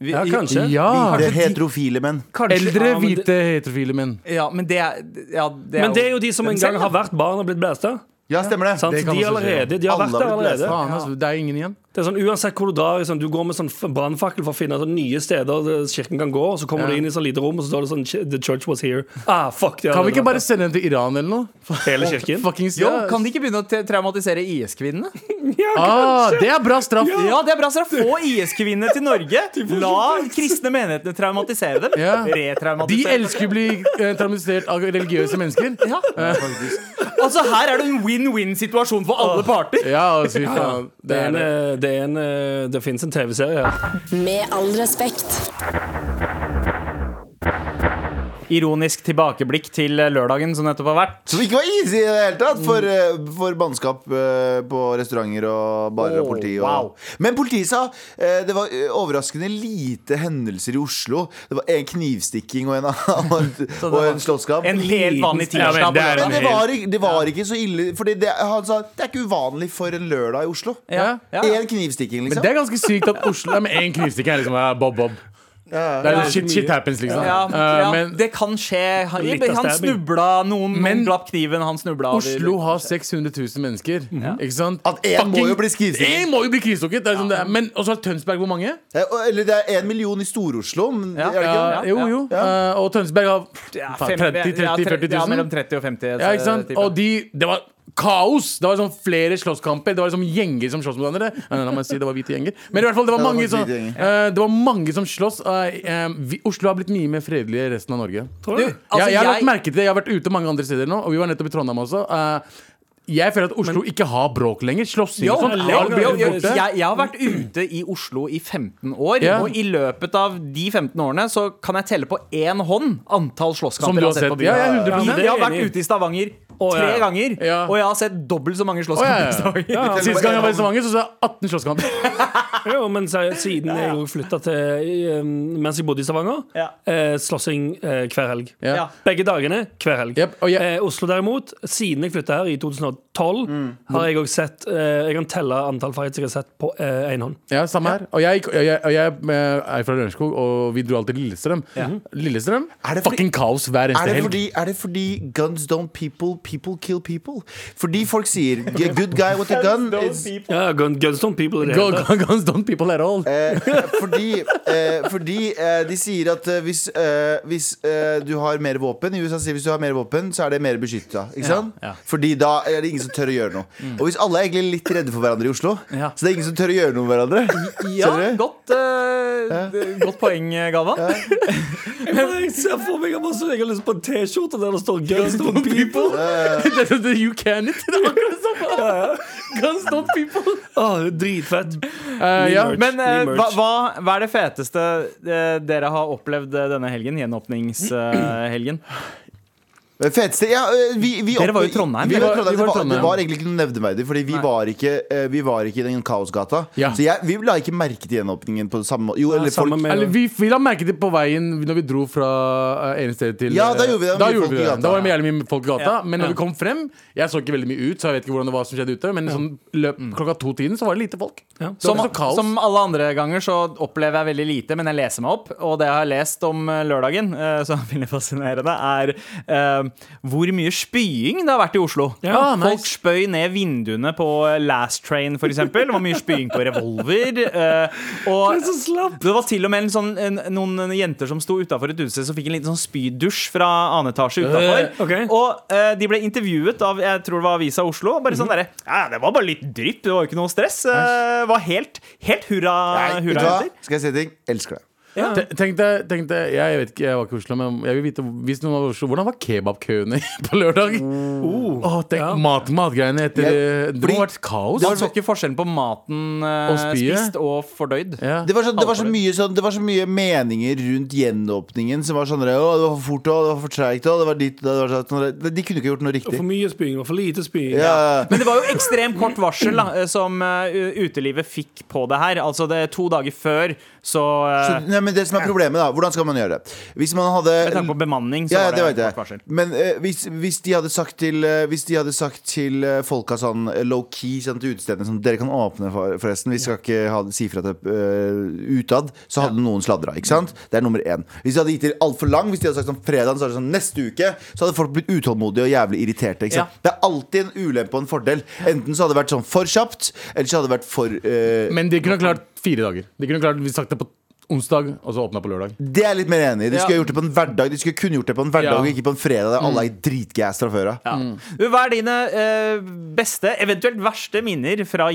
S4: Vi-
S6: Ja, kanskje.
S5: Ja,
S2: Hvite heterofile menn.
S4: kanskje-
S5: Eldre,
S4: ja, men det-
S5: hvite, heterofile menn.
S4: Ja, men det er, ja, det er
S6: Men det er jo de som en gang har vært barn og blitt blæsta.
S2: Ja, stemmer det.
S6: Sant?
S5: Det kan
S6: De
S5: også skje, ja.
S6: allerede, de har
S2: Alle
S6: vært der
S2: har blitt
S6: allerede.
S5: Faen, altså, det er ingen igjen.
S6: Det er sånn, Uansett hvor du drar, liksom, du går med sånn f- brannfakkel for å finne sånn nye steder der kirken kan gå, og så kommer du
S5: Ja.
S6: inn i sånn lite rom, og så står det sånn The church was here. Ah, fuck de
S5: Kan vi
S6: allerede
S5: ikke bare
S6: vært
S5: sende dem til Iran eller noe?
S6: der. Hele kirken?
S5: Fuckings
S4: Jo,
S5: ja.
S4: kan de ikke begynne å te- traumatisere IS-kvinnene?
S5: ah, Det er bra straff!
S4: Ja, det er bra, Sara. Få IS-kvinnene til
S5: *laughs*
S4: Norge. La kristne menighetene traumatisere dem.
S5: Ja. De
S4: Retraumatisere dem.
S5: elsker å bli eh, traumatisert av
S2: *laughs*
S5: religiøse mennesker. Eh,
S4: Ja. Altså, her er det en win-win-situasjon for alle parter.
S5: Ja, altså, fy faen.
S6: Det, er en, eh, det, er en, eh, det finnes en TV-serie her.
S7: Med all respekt.
S4: Ironisk tilbakeblikk til eh, lørdagen som nettopp har vært.
S2: Som ikke var easy i det hele tatt for,
S4: Mm.
S2: eh, for mannskap eh, på restauranter og barer og
S4: Oh,
S2: politi. Og.
S4: wow.
S2: Men politiet sa eh, det var eh, overraskende lite hendelser i Oslo. Det var en knivstikking og en,
S4: *laughs*
S2: annen- og
S4: var
S2: en slåsskamp.
S4: En helt vanlig
S6: Ja, men
S4: tirsdag.
S6: det er
S4: på
S2: Men
S4: lørdag.
S6: en
S2: det var, ikke- det var ikke så ille, Fordi det, han sa det er ikke uvanlig for en lørdag i Oslo.
S4: Ja. Ja.
S2: En knivstikking,
S5: Men
S2: liksom.
S5: det er ganske sykt at Oslo Nei, men én knivstikker er liksom ja, Bob Bob. Det er, shit, shit happens, liksom.
S4: Ja,
S5: Eh,
S4: ja,
S5: men
S4: det kan skje. Han,
S6: Litt av
S4: han
S6: stabbing.
S4: snubla, noen, noen
S5: Men-
S4: glapp kniven, han snubla over-
S5: Oslo har 600 000 mennesker. Ikke sant?
S2: At én må jo bli knivstukket.
S5: Én må jo bli knivstukket! Det er liksom det er. Men også har Tønsberg hvor mange?
S2: Eh, og- Eller det er en million i Stor-Oslo. men
S4: Ja.
S2: er det ikke
S5: Eh, jo, jo. Eh, og Tønsberg har
S4: Ja, fem-
S5: faen, 30
S4: ja,
S5: 30 40
S4: Ja,
S5: 000.
S4: mellom 30 og altså, 50.
S5: Ja, ikke sant?
S2: Eh,
S4: tipper jeg.
S5: Og de Det var kaos! Det var sånn flere slåsskamper. Det var liksom gjenger som sloss mot hverandre. Nei, nei, La meg si det var hvite gjenger. Men i hvert fall, det var
S2: Ja, det
S5: mange
S2: var
S5: som,
S2: hvite gjenger.
S5: eh, det var mange som sloss. Eh, eh, vi, Oslo har blitt mye mer fredelig i resten av Norge.
S6: Tror du?
S4: Du,
S5: ja,
S4: altså,
S5: jeg har lagt
S4: jeg-
S5: merke til det. Jeg har vært ute mange andre steder nå, og vi var nettopp i Trondheim også. Eh, jeg føler at Oslo ikke har bråk lenger. Slåssing
S4: Jo,
S5: og sånt.
S4: jo,
S5: alt er
S4: jo, jo,
S5: Sånn, borte.
S4: jeg, jeg har vært ute i Oslo i 15 år,
S5: Ja.
S4: og i løpet av de 15 årene så kan jeg telle på én hånd antall
S5: Som
S4: slåsskamper
S5: du
S4: jeg
S5: har
S4: har sett på
S5: sett.
S4: byen.
S5: Ja, jeg er
S6: Ja, men
S5: 100
S6: det
S4: Jeg har
S6: er
S4: vært
S6: enig.
S4: ute i Stavanger
S6: Å,
S4: Tre
S6: ja.
S4: ganger.
S5: Ja.
S4: Og jeg har sett dobbelt så mange
S5: Å, ja,
S4: slåsskamper. i
S5: ja,
S4: Stavanger.
S5: ja. Sist gang jeg var i Stavanger, så så jeg 18 slåsskamper.
S6: Jo, men se- siden jeg òg flytta til eh, Mens jeg bodde i Stavanger,
S4: Ja.
S6: eh, slåssing eh, hver helg.
S5: Ja.
S6: Begge dagene hver helg.
S5: Jep, og jeg-
S6: eh, Oslo derimot, siden jeg flytta her i 2012,
S5: Mm.
S6: har jeg òg sett eh, Jeg kan telle antall fights jeg har sett på eh, én hånd.
S5: Ja, samme her. Og jeg, og jeg, og jeg eh, er fra Lørenskog, og vi dro alltid til Lillestrøm. Mhm. Lillestrøm?
S2: Er det fordi-
S5: Fucking kaos hver
S2: Er
S5: eneste
S2: det,
S5: helg.
S2: fordi, er det fordi guns don't people, people kill people? Fordi folk sier "A good guy with a gun is
S6: Ja, Gun, Gunstone People. i Det
S5: Go,
S6: hele tatt.
S5: go, guns don't people at all.
S2: Eh, fordi eh, fordi eh, de sier at eh, hvis, eh, hvis eh, du har mer våpen I USA sier hvis du har mer våpen, så er det mer beskytta. Ikke sant? Fordi da er det ingen som tør å gjøre noe. Og hvis alle er egentlig litt redde for hverandre i Oslo,
S4: Mm. Ja.
S2: så det er ingen som tør å gjøre noe med hverandre.
S4: Ja,
S2: Ser du?
S4: godt, eh, godt poeng, eh, Galvan.
S6: *laughs*
S4: *laughs*
S6: Jeg ser for meg at jeg har lyst på en T-skjorte der det står 'Guns Don't People'. *laughs*
S5: Det- det- det- you can it. Det er akkurat det samme. Guns don't people.
S6: Åh, dritfett.
S5: Eh, ja, men
S4: Men eh,
S6: Ny merch.
S4: hva, hva, hva er det feteste eh, dere har opplevd eh, denne helgen? Gjenåpningshelgen.
S2: Men Feteste ja, øh, vi, vi
S4: Dere var jo
S2: opp-
S4: i Trondheim.
S2: Vi
S4: Vi
S2: var, i Trondheim.
S5: var-
S2: Det,
S5: vi var i
S2: var, det
S5: Trondheim.
S2: var egentlig ikke noe nevneverdig, Fordi vi var, ikke, eh, vi var ikke i den kaosgata.
S5: Ja.
S2: Så jeg, vi la ikke merke til gjenåpningen på det samme måte. Jo, eller folk
S6: Sammen med
S5: eller, vi, vi la merke til på veien når vi dro fra eh, ene stedet til
S2: Ja, da gjorde vi det.
S5: Da,
S2: Mye
S5: gjorde
S2: folk
S5: vi
S2: i
S5: det.
S2: gata.
S5: da var det jævlig mye folk i gata.
S4: Ja.
S5: Men når vi kom frem Jeg så ikke veldig mye ut, så jeg vet ikke hvordan det var som skjedde ute. Men sånn, løp,
S2: Mm.
S5: klokka to-tiden så var det lite folk.
S6: Ja.
S5: Det
S4: Som,
S5: var ikke så kaos.
S4: som alle andre ganger så opplever jeg veldig lite, men jeg leser meg opp. Og det jeg har lest om eh, lørdagen, eh, *laughs* som er veldig fascinerende, er eh, hvor mye spying det har vært i Oslo.
S5: Ja, nice.
S4: Folk spøy ned vinduene på eh, Last Train, for eksempel. Det var mye spying på revolver.
S5: *laughs*
S4: eh, og det var til og med en sånn, en, noen jenter som sto utafor et utested, som fikk en liten sånn spydusj fra annen etasje utafor.
S6: Øh, ok.
S4: Og eh, de ble intervjuet av jeg tror det var Avisa Oslo. og Bare sånn derre ja, Det var bare litt drypp, det var jo ikke noe stress. Eh, var helt, helt hurra,
S2: Nei, vet du
S4: hurra
S2: hva?
S4: jenter.
S2: Skal jeg si en ting? Elsker deg.
S5: Te- Tenk deg, tenk deg jeg, vet ikke, jeg var ikke i Oslo, men jeg vil vite hvis noen var i Oslo, hvordan var kebabkøene *laughs* på lørdag? Åh, tenk, mat, matgreiene etter eh,
S2: Jeg-
S5: Det må ha
S2: fordi-
S5: vært kaos. altså.
S4: Man så ikke forskjellen på maten eh,
S5: Og spyet.
S4: spist og fordøyd.
S5: Ja.
S2: Det var, så, det, var så mye sånn, det var så mye meninger rundt gjenåpningen som var sånn der, Å, det var for fort, og det var for treigt, og det var dit og det var sånn der». De kunne ikke gjort noe riktig.
S6: For mye spying og for lite spying.
S2: Ja.
S4: Men det var jo ekstremt kort varsel da, eh, som eh, utelivet fikk på det her. Altså det er to dager før, så, eh,
S2: Så, nei, men det som er problemet, da, hvordan skal man gjøre det? Hvis man hadde
S4: Med tanke på bemanning, så
S2: Ja, ja, det
S4: var
S2: vet
S4: det kort
S2: jeg.
S4: varsel.
S2: Men eh, hvis, hvis de hadde sagt til eh, Hvis de hadde sagt til eh, folka sånn eh, low-key sånn, til utestedene sånn, Dere kan åpne, for, forresten. Vi skal ikke ha, si fra til eh, utad. Så hadde noen sladra. Ikke sant? Det er nummer én. Hvis de hadde gitt det altfor lang, hvis de hadde sagt sånn fredag, så er det sånn neste uke, så hadde folk blitt utålmodige og jævlig irriterte. Ikke sant? Det er alltid en ulempe og en fordel. Enten så hadde det vært sånn for kjapt, eller så hadde det vært for eh,
S5: Men de kunne ha klart fire dager. De kunne ha klart, vi sagt det på onsdag, og så åpna på lørdag.
S2: Det er jeg litt mer enig i. De skulle ha gjort det på en hverdag De skulle kun gjort det på en hverdag
S5: Ja.
S2: og ikke på en fredag. Der alle er dritgass fra før av.
S4: Mm. Ja.
S5: Mm.
S4: Du, Hva er dine eh, beste, eventuelt verste minner fra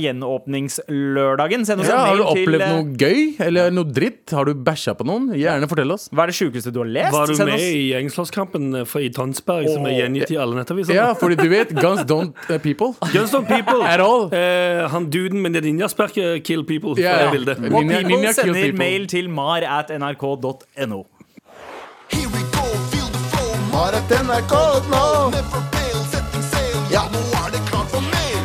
S4: gjenåpningslørdagen? Send oss en
S5: Ja, har
S4: mail
S5: du
S4: til
S5: opplevd
S4: eh,
S5: noe gøy eller noe dritt? Har du bæsja på noen? Gjerne fortell oss.
S4: Hva er det sjukeste du har lest?
S6: Var du
S4: Send
S6: med
S4: oss-
S6: i gjengslåsskampen fra- i Tønsberg, som er gjengitt i alle nettaviser?
S5: Ja, fordi du vet, guns don't eh, people.
S6: Gunstone People.
S5: *laughs* At all.
S6: Eh, han duden med det ninjasperket, Kill People. fra
S5: Ja, ja.
S6: det bildet.
S5: Ninja-
S4: Og people
S5: ninja kill
S4: sender
S5: people.
S4: mail til mar at nrk.no.
S8: Here we go, feel the flow.
S2: Har et NRK nå!
S8: Never fail, setting sail. Ja, nå er det klart for mer.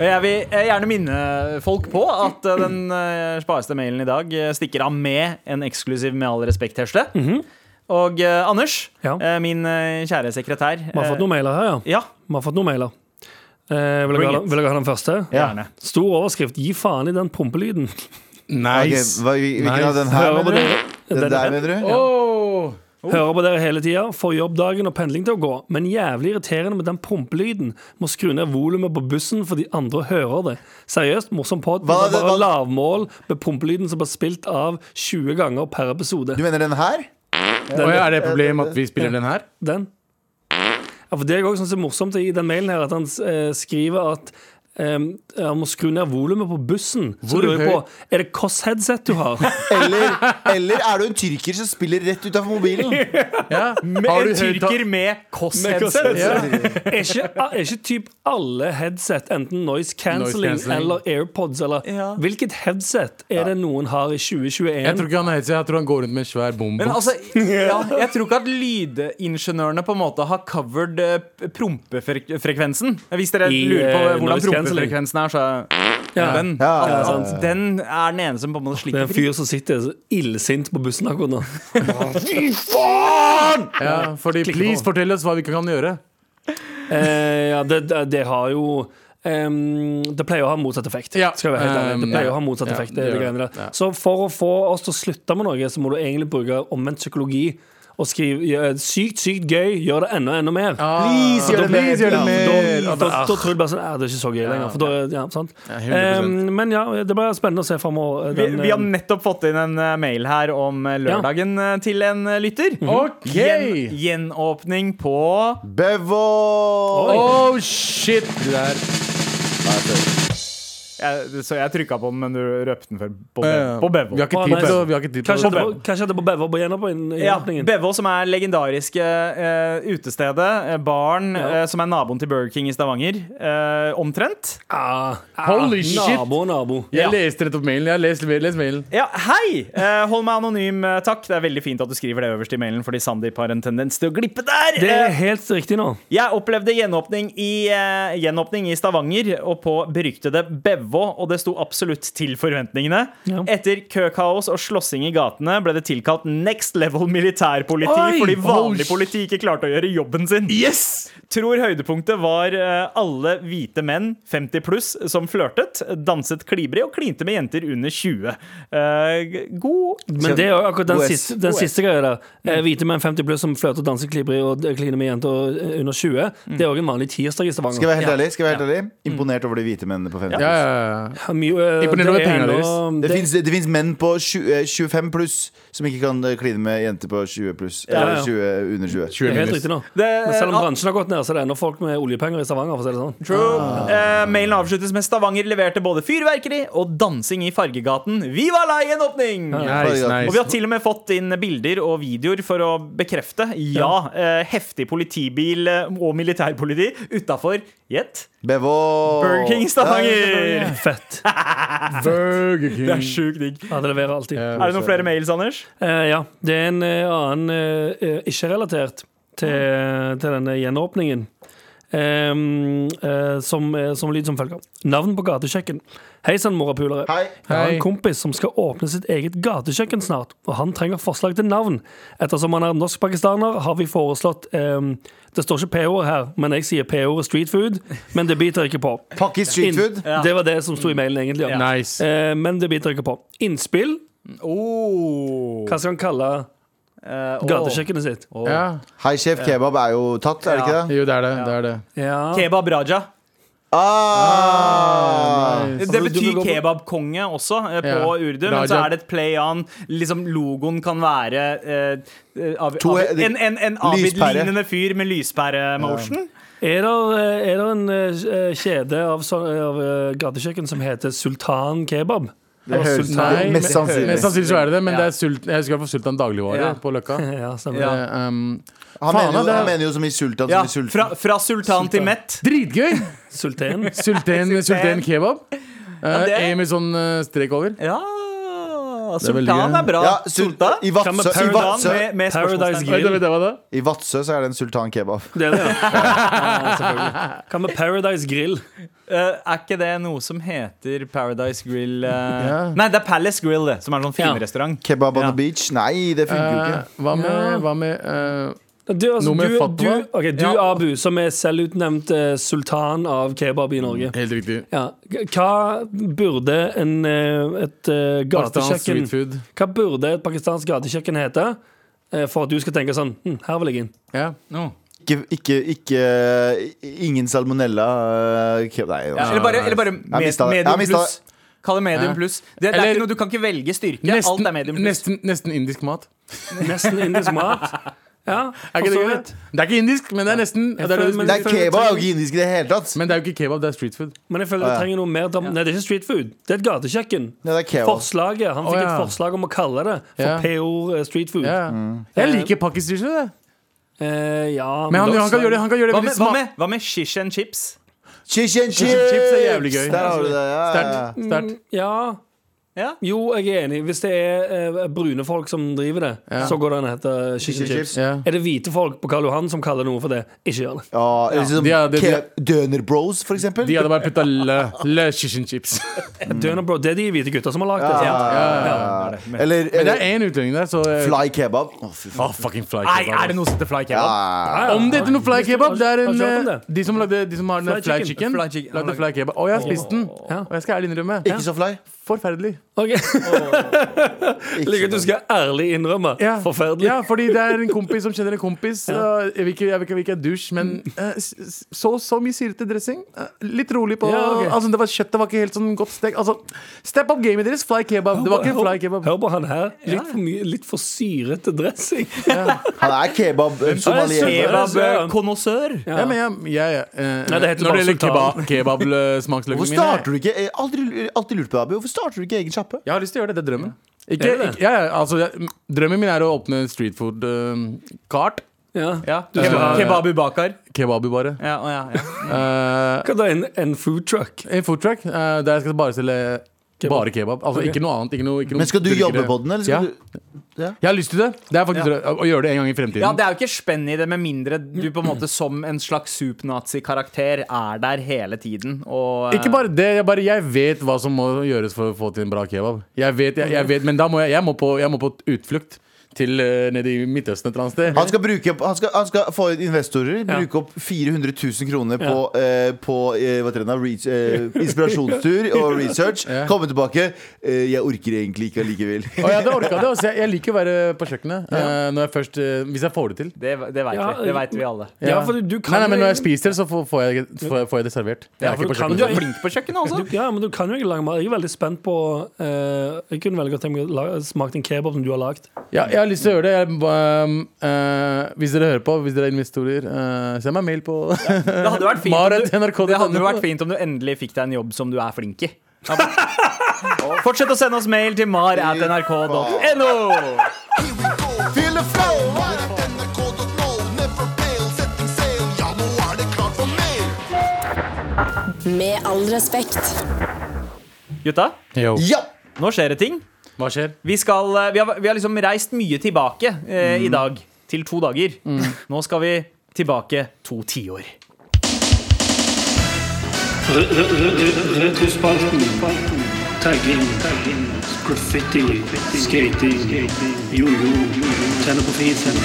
S4: Og Jeg vil eh, gjerne minne folk på at eh, den eh, spareste mailen i dag eh, stikker av med en eksklusiv Med all respekt-hesle. Og eh, Anders,
S6: Ja.
S4: eh, min eh, kjære sekretær
S6: Vi har fått noen mailer her, ja.
S4: eh, Ja,
S6: Vi har fått noen mailer. Eh, vil,
S4: Bring
S6: jeg ha,
S4: it.
S6: vil dere ha den første?
S4: gjerne.
S6: Stor overskrift. Gi faen i den prompelyden.
S2: Ok,
S5: Nice.
S2: hva, vi, Hvilken av den her,
S6: Hører
S2: mener
S6: på
S2: du?
S6: dere.
S2: Den
S6: Den
S2: der,
S6: her.
S2: mener du?
S5: Åh.
S6: Hører på dere hele tida, får jobb dagen og pendling til å gå. Men jævlig irriterende med den prompelyden. Må skru ned volumet på bussen fordi andre hører det. Seriøst, morsom pod.
S2: Hva er det-
S6: men det er
S2: hva-
S6: Bare lavmål med prompelyden som blir spilt av 20 ganger per episode.
S2: Du mener den her?
S5: Åh, ja, er det et problem at vi spiller den her?
S6: Den. Ja, for det jeg også synes er morsomt i den mailen her, at han eh, skriver at eh, um, om å skru ned volumet på bussen.
S5: Hvor
S6: så lurer jeg
S5: høy-
S6: på, Er det hvilket headset du har?
S2: Eller, eller er du en tyrker som spiller rett utafor mobilen?
S5: Ja. Har
S4: Med
S5: du
S4: en
S5: høytta-
S4: tyrker med
S6: headset.
S4: Koss-headset.
S6: Er ikke, er ikke typ alle headset enten noise cancelling
S5: Noise cancelling.
S6: eller AirPods? Eller,
S4: Ja.
S6: Hvilket headset er det noen har i
S5: Jeg tror
S6: 2021?
S5: ikke han er headset, jeg tror han går rundt med en svær bombe.
S4: Men altså,
S6: *laughs*
S4: ja, jeg tror ikke at lydingeniørene på en måte har covered eh, prompefrekvensen. Hvis dere
S6: I,
S4: lurer på
S6: eh,
S4: hvordan
S6: noise cancelling.
S4: prompefrekvensen er, så
S6: Ja.
S4: den,
S2: Ja, ja, ja,
S4: at den er den ene som på en måte
S6: Det er
S4: slipper
S6: en fyr som sitter så illsint på bussen akkurat
S5: *laughs*
S6: nå.
S5: ja, fordi,
S6: Klikke på.
S5: please, fortell oss hva vi ikke kan gjøre.
S6: Eh, ja, det, det- det har jo ehm, det pleier å ha motsatt effekt.
S5: Ja.
S6: Skal jeg være helt ærlig. Det
S5: Um,
S6: pleier
S5: ja.
S6: å ha motsatt
S5: Ja,
S6: effekt.
S5: det
S6: det
S5: gjør
S6: greiene
S5: det.
S6: der.
S5: Ja.
S6: Så for å få oss til å slutte med noe, så må du egentlig bruke omvendt psykologi. Og skrive eh, 'sykt, sykt gøy', gjør det enda, enda mer.
S5: Ah, Please,
S2: gjør det mer. Ja,
S6: Da, da, da tror jeg bare sånn «Æ, Det er ikke så gøy lenger. For da, ja, sant? Ehm, men ja, det blir spennende å se eh, framover.
S4: Vi, vi har nettopp fått inn en eh, mail her om eh, lørdagen eh, til en eh, lytter.
S6: Mhm.
S5: Ok.
S4: Gjen, gjenåpning på
S2: Bevo!
S5: Oh shit! Det der.
S4: jeg, Så jeg trykka på den, men du røpte den før. På, Be
S5: Eh,
S4: på Bevo.
S5: Vi har ikke
S6: På
S5: tid til
S6: Bevo.
S5: å- vi har ikke tid til
S6: Kanskje
S5: å
S6: det var- kanskje det er på Bever på gjennom på inn-
S4: Ja,
S6: innåpningen.
S4: Bevo, som er legendariske eh, utestedet, eh, baren, eh, som er naboen til Burger King i Stavanger. eh, omtrent.
S6: Ah, ah,
S5: Holy shit.
S6: Nabo, nabo.
S5: Jeg
S4: Ja.
S5: leste rett opp mailen. Jeg leste, les mailen.
S4: Ja, hei! Eh, hold meg anonym, eh, takk. Det er veldig fint at du skriver det øverst i mailen, fordi Sandeep har en tendens til å glippe der.
S6: Det er
S4: Eh,
S6: helt riktig nå.
S4: Jeg opplevde gjenåpning i, eh, gjenåpning i Stavanger og på beryktede Bevå, og det sto absolutt til forventningene.
S6: Ja.
S4: Etter køkaos og slåssing i gatene ble det tilkalt next level militærpoliti
S6: Oi!
S4: fordi vanlig
S5: Oh,
S4: politi ikke klarte å gjøre jobben sin.
S5: Yes!
S4: Tror høydepunktet var eh, alle hvite menn, 50 pluss, som flørtet, danset klibrig og klinte med jenter under 20. Eh, g- god
S6: Men det er jo akkurat den
S2: OS.
S6: siste, den siste greia der. Eh, Hvite menn 50 pluss som flørter, danser, klibri og kliner med jenter eh, under 20. Det er òg en vanlig tirsdag
S2: Skal
S6: i
S2: jeg
S6: Stavanger.
S2: være helt ærlig? Skal jeg være helt ærlig? Imponert over de hvite mennene på 50.
S5: Ja, ja, ja.
S6: Ja, mye, eh,
S5: Imponerende
S6: det
S5: med
S6: er
S5: pengene
S6: ennå-
S2: Det,
S6: det-
S2: finnes, det finnes menn på 20, eh, 25 pluss som ikke kan eh, kline med jenter på 20 pluss.
S6: Ja, ja.
S2: Eller 20, under 20.
S6: Det
S5: 20
S6: er helt
S5: minus.
S6: riktig nå.
S4: Det-
S6: Men selv om
S4: ah.
S6: bransjen har gått ned, så er det ennå folk med oljepenger i Stavanger. For å si det sånn.
S4: True. Eh, mailen avsluttes med Stavanger leverte både fyrverkeri og dansing i Fargegaten. Vi var lei en åpning!
S5: Nice,
S4: Og vi
S5: nice.
S4: har til og med fått inn bilder og videoer for å bekrefte. Ja, eh, heftig politibil eh, og militærpoliti utafor Gjett
S2: Bevo!
S4: Burger King i Stavanger!
S6: *laughs* Fett.
S5: Burger King.
S4: Det er sjukt digg.
S6: Ja, det leverer alltid.
S5: Ja.
S4: Er det noen flere mails, Anders?
S6: Eh, ja. Det er en eh, annen eh, eh, ikke relatert til, til denne gjenåpningen. Ehm, eh, som, eh, som lyd som følger. Navn på gatekjøkken. Hei sann, morapulere.
S2: Hei.
S6: Jeg har
S5: Hei.
S6: en kompis som skal åpne sitt eget gatekjøkken snart, og han trenger forslag til navn. Ettersom han er norsk-pakistaner, har vi foreslått ehm, Det står ikke P-ord her, men jeg sier P-ordet street food, men det biter ikke på.
S2: Pakkis street
S6: Inn-
S2: food.
S6: Det var det som
S5: Mm.
S6: sto i mailen, egentlig. ja.
S5: Nice.
S6: Eh, men det biter ikke på. Innspill.
S5: Oh.
S6: Hva skal han kalle
S4: Eh,
S6: gatekjøkkenet sitt?
S5: Ja.
S2: Hei, sjef kebab er jo tatt, er det ikke det?
S5: Jo, det er det. det, er det.
S6: Ja.
S4: Kebab Raja.
S2: Ah!
S4: Det
S6: Altså, du- du
S4: betyr
S6: vil gå på-
S4: kebabkonge også eh, på
S5: Ja.
S4: urdu, men så
S5: Raja.
S4: er det et play on. Liksom Logoen kan være eh, eh, av,
S2: To-
S4: av, en, en, en
S2: Lyspære.
S4: Abid-lignende fyr med lyspære-motion.
S6: Er det, er det en eh, kjede av, så- av eh, gatekjøkken som heter Sultan Kebab?
S2: Det høres
S5: Nei,
S2: Nei,
S5: men- sånn-
S2: mest sannsynlig.
S5: Mest sannsynlig så er det det, men
S4: Ja.
S5: det er sult, jeg husker jeg var Sultan dagligvare
S4: Ja.
S5: på Løkka.
S6: Ja, stemmer
S4: Ja.
S6: det.
S5: Eh, um,
S2: Han
S5: Faen,
S2: mener jo,
S5: det er-
S2: han mener jo som i sultan.
S4: Ja,
S2: Som i sulten.
S4: fra, fra sultan til mett.
S5: dritgøy!
S6: Sultan.
S5: Sulten, sulten kebab. Eh,
S4: det-
S5: en med sånn eh, strek over.
S4: Ja
S5: er veldig
S4: Sultan
S5: gøy.
S4: er bra.
S2: Ja, sul-
S4: Sultan.
S2: I
S6: Hva med
S2: Vadsø, i
S4: Sultan
S2: Vadsø,
S4: med, med
S6: Paradise
S4: spørsmålstegn.
S5: Vet du
S6: Grill.
S5: vet du hva det er?
S2: i Vadsø så er det en sultan kebab.
S6: Det er det,
S5: *laughs*
S6: ja. ja selvfølgelig. Hva med Paradise Grill?
S4: Eh, er ikke det noe som heter Paradise Grill? eh?
S5: Ja.
S4: Nei, det er Palace Grill, det, som er en sånn
S6: Ja.
S4: finrestaurant.
S2: Kebab on
S4: Ja.
S2: the beach? Nei, det funker jo
S5: Eh,
S2: ikke.
S5: hva med,
S6: Ja.
S5: hva med eh,
S6: Du, altså,
S5: Noe med
S6: du,
S5: fatwa?
S6: du, ok, du
S5: Ja.
S6: Abu, som er selvutnevnt eh, sultan av kebab i Norge.
S5: Helt riktig.
S6: Ja. Hva burde en, eh, et eh,
S5: Pakistansk
S6: gatekjøkken
S5: street food.
S6: Hva burde et pakistansk gatekjøkken hete eh, for at du skal tenke sånn hm, Her vil jeg inn.
S5: Ja.
S2: Ikke, ikke, ikke Ingen salmonella eh, kebab. Nei,
S4: Ja, eller bare, eller bare med,
S2: mistet det. Jeg
S4: medium
S2: mistet
S4: pluss. Kall det medium
S5: Ja.
S4: pluss. Det, det er
S5: Eller-
S4: ikke noe, du kan ikke velge styrke. Alt er medium
S5: Nesten,
S4: pluss.
S5: nesten, nesten indisk mat.
S6: Nesten Sånn indisk mat. Ja,
S5: *laughs* Er
S6: for
S5: ikke det,
S6: så
S5: gøy?
S6: vidt.
S5: det er ikke indisk, men det er nesten det er det,
S6: men-
S5: du
S2: Det
S5: spiser.
S2: er kebab er jo ikke indisk i det hele tatt.
S5: Men det er jo ikke kebab, det er street food.
S6: Men jeg føler
S2: ja.
S6: jeg trenger noe mer dam- Nei, det er ikke street food. Det er et gatekjøkken.
S2: Ja, det er kebab.
S6: Forslaget, Han fikk
S5: Å, ja.
S6: et forslag om å kalle det for
S5: Ja.
S6: PO eh, street food.
S5: Ja.
S2: Mm.
S5: Jeg liker pakkistisje, det.
S6: Eh, ja,
S5: Men han,
S6: da-
S5: han kan gjøre det, han kan gjøre det
S4: Hva
S5: veldig
S4: med, hva
S5: smak.
S4: med, hva med shish and chips?
S2: Chish and chips!
S5: and chips er jævlig gøy.
S2: Der har du det. Ja, ja, ja.
S6: Mm.
S5: Sterkt. sterkt.
S6: Ja.
S4: Ja.
S6: Jo, jeg er enig. Hvis det er eh, brune folk som driver det,
S5: Ja.
S6: så går det an å hete chicken
S2: Chicken
S6: chips.
S2: chips.
S5: Ja.
S6: Er det hvite folk på Karl Johan som kaller noe for det? Ikke gjør det.
S2: Ja, eller sånn
S5: De hadde- de-
S2: ke- Døner Bros, for eksempel.
S5: De hadde bare putta lø, lø shish and chips.
S6: Døner, bro, det er de hvite gutta som har lagd
S2: Ja,
S6: det.
S2: ja, ja, ja. Eller,
S5: Men det
S2: eller
S5: er én utlending der, så eh,
S2: fly kebab. Å, fy faen. Ah.
S5: Ah, fucking fly
S4: Nei,
S5: kebab.
S4: er det noe som heter fly
S2: Ja,
S4: kebab?
S2: ja, ja.
S5: Om det heter noe fly kebab, det er
S6: Har
S5: en
S6: du hørt om
S5: eh,
S6: det?
S5: De som, lagde, de som har den
S6: Fly
S5: der fly
S6: chicken.
S5: chicken,
S4: Fly chicken.
S5: lagde fly kebab. Og jeg har spist den.
S6: Ja.
S5: Og jeg skal ærlig innrømme,
S2: Ikke så fly.
S5: forferdelig.
S6: Ok.
S2: Ikke
S6: Liker
S2: så
S6: at
S2: fly.
S6: du skal ærlig innrømme.
S5: Ja.
S6: Forferdelig.
S5: Ja, fordi det er en kompis som kjenner en kompis. og Jeg vil ikke, jeg vil ikke, jeg vil ikke dusj, men
S6: Mm.
S5: eh, s- s- så, så mye syrete dressing. Eh, litt rolig på
S6: Ja, ok.
S5: altså, det var, Kjøttet var ikke helt sånn godt stekt. Altså, step up gamet deres, fly kebab. Det var ikke fly kebab.
S6: Hør på han her. Litt for, mye, litt for syrete dressing.
S2: Han er kebab somalier.
S4: eh, Kebabkonnoissør.
S5: Ja, men jeg, jeg, eh,
S6: Nei, det heter
S5: Når det gjelder
S6: bare
S5: kebab, kebabsmaksløkene
S2: Hvorfor
S5: mine
S2: starter du ikke jeg har aldri, alltid lurt på det, Abu. Hvorfor starter du ikke egen sjappe?
S5: Jeg har lyst til å gjøre det. Det er drømmen. Ikke,
S6: Er det det?
S5: ikke, ja, ja, altså, jeg, drømmen min er å åpne eh, streetfood-kart.
S6: Ja.
S4: Ja, du
S5: skal-
S4: skal- Kebabu Bakar.
S5: Kebabi, bare.
S4: Ja, å, ja, ja.
S5: Eh,
S6: Hva da, en, en food truck?
S5: En food truck eh, der jeg skal bare selge
S6: Kebab.
S5: bare kebab. Altså ikke noe annet. Ikke noe, ikke noe
S2: Men skal du
S5: burgere.
S2: jobbe på den, eller skal
S5: ja.
S2: du
S5: Jeg har lyst til det. Det er faktisk drø- å- å gjøre det en gang i fremtiden.
S4: Ja, Det er jo ikke spenn i det, med mindre du på en måte som en slags supernazi-karakter er der hele tiden. Og,
S5: Ikke bare det, jeg, bare, jeg vet hva som må gjøres for å få til en bra kebab. Jeg vet, jeg, jeg vet Men da må jeg, jeg, må på, jeg må på utflukt til eh, nede i Midtøsten et eller annet sted.
S2: Han skal, bruke, opp- han, skal, han skal få inn investorer, bruke opp 400 000 kroner på, eh, på eh, hva heter det, nå, reach, eh, inspirasjonstur og research. Komme tilbake. Eh, jeg orker egentlig ikke allikevel. *laughs*
S5: Og jeg hadde orket det. Altså, jeg, jeg liker å være på kjøkkenet eh, når jeg først, eh, hvis jeg får det til.
S4: Det, det veit
S6: Ja,
S4: vi. Det vet vi alle.
S6: Ja, for du kan
S5: nei, nei, men
S6: jo-
S5: når jeg spiser det, så får, får, jeg, får, jeg- får jeg det servert. Jeg
S6: Ja,
S5: er
S6: for
S5: ikke på
S6: du kan-
S5: kjøkkenet.
S4: Du er flink på kjøkkenet også.
S6: Du, ja, men du kan jo ikke lage mat. Jeg er veldig spent på eh, Jeg kunne veldig godt tenkt meg å la- smake en kebab som du har lagd.
S5: Ja, jeg har lyst til å gjøre det. Jeg, um, eh, hvis dere hører på, hvis dere er investorer, eh, send meg mail på *laughs*
S4: Det hadde, jo vært fint om
S5: Marit, NRK,
S4: du, det hadde jo
S5: denne-
S4: vært fint om du endelig fikk deg en jobb som du er flink i. Ja, men- *laughs* Fortsett å sende oss mail til mar.nrk.no.
S8: Here we go. *laughs* Feel the flow. NRK.no. Never fail. Setting sail. Ja, nå er det klart for mer.
S7: Med all respekt.
S4: Gutta,
S2: Ja!
S4: nå skjer det ting.
S5: Hva skjer?
S4: Vi, skal, eh, vi, har, vi har liksom reist mye tilbake eh, i dag, til to dager. Nå skal vi tilbake to tiår.
S9: Retrospalten. Tagging. Graffiti. Skating. Jojo. Tenne på fisen.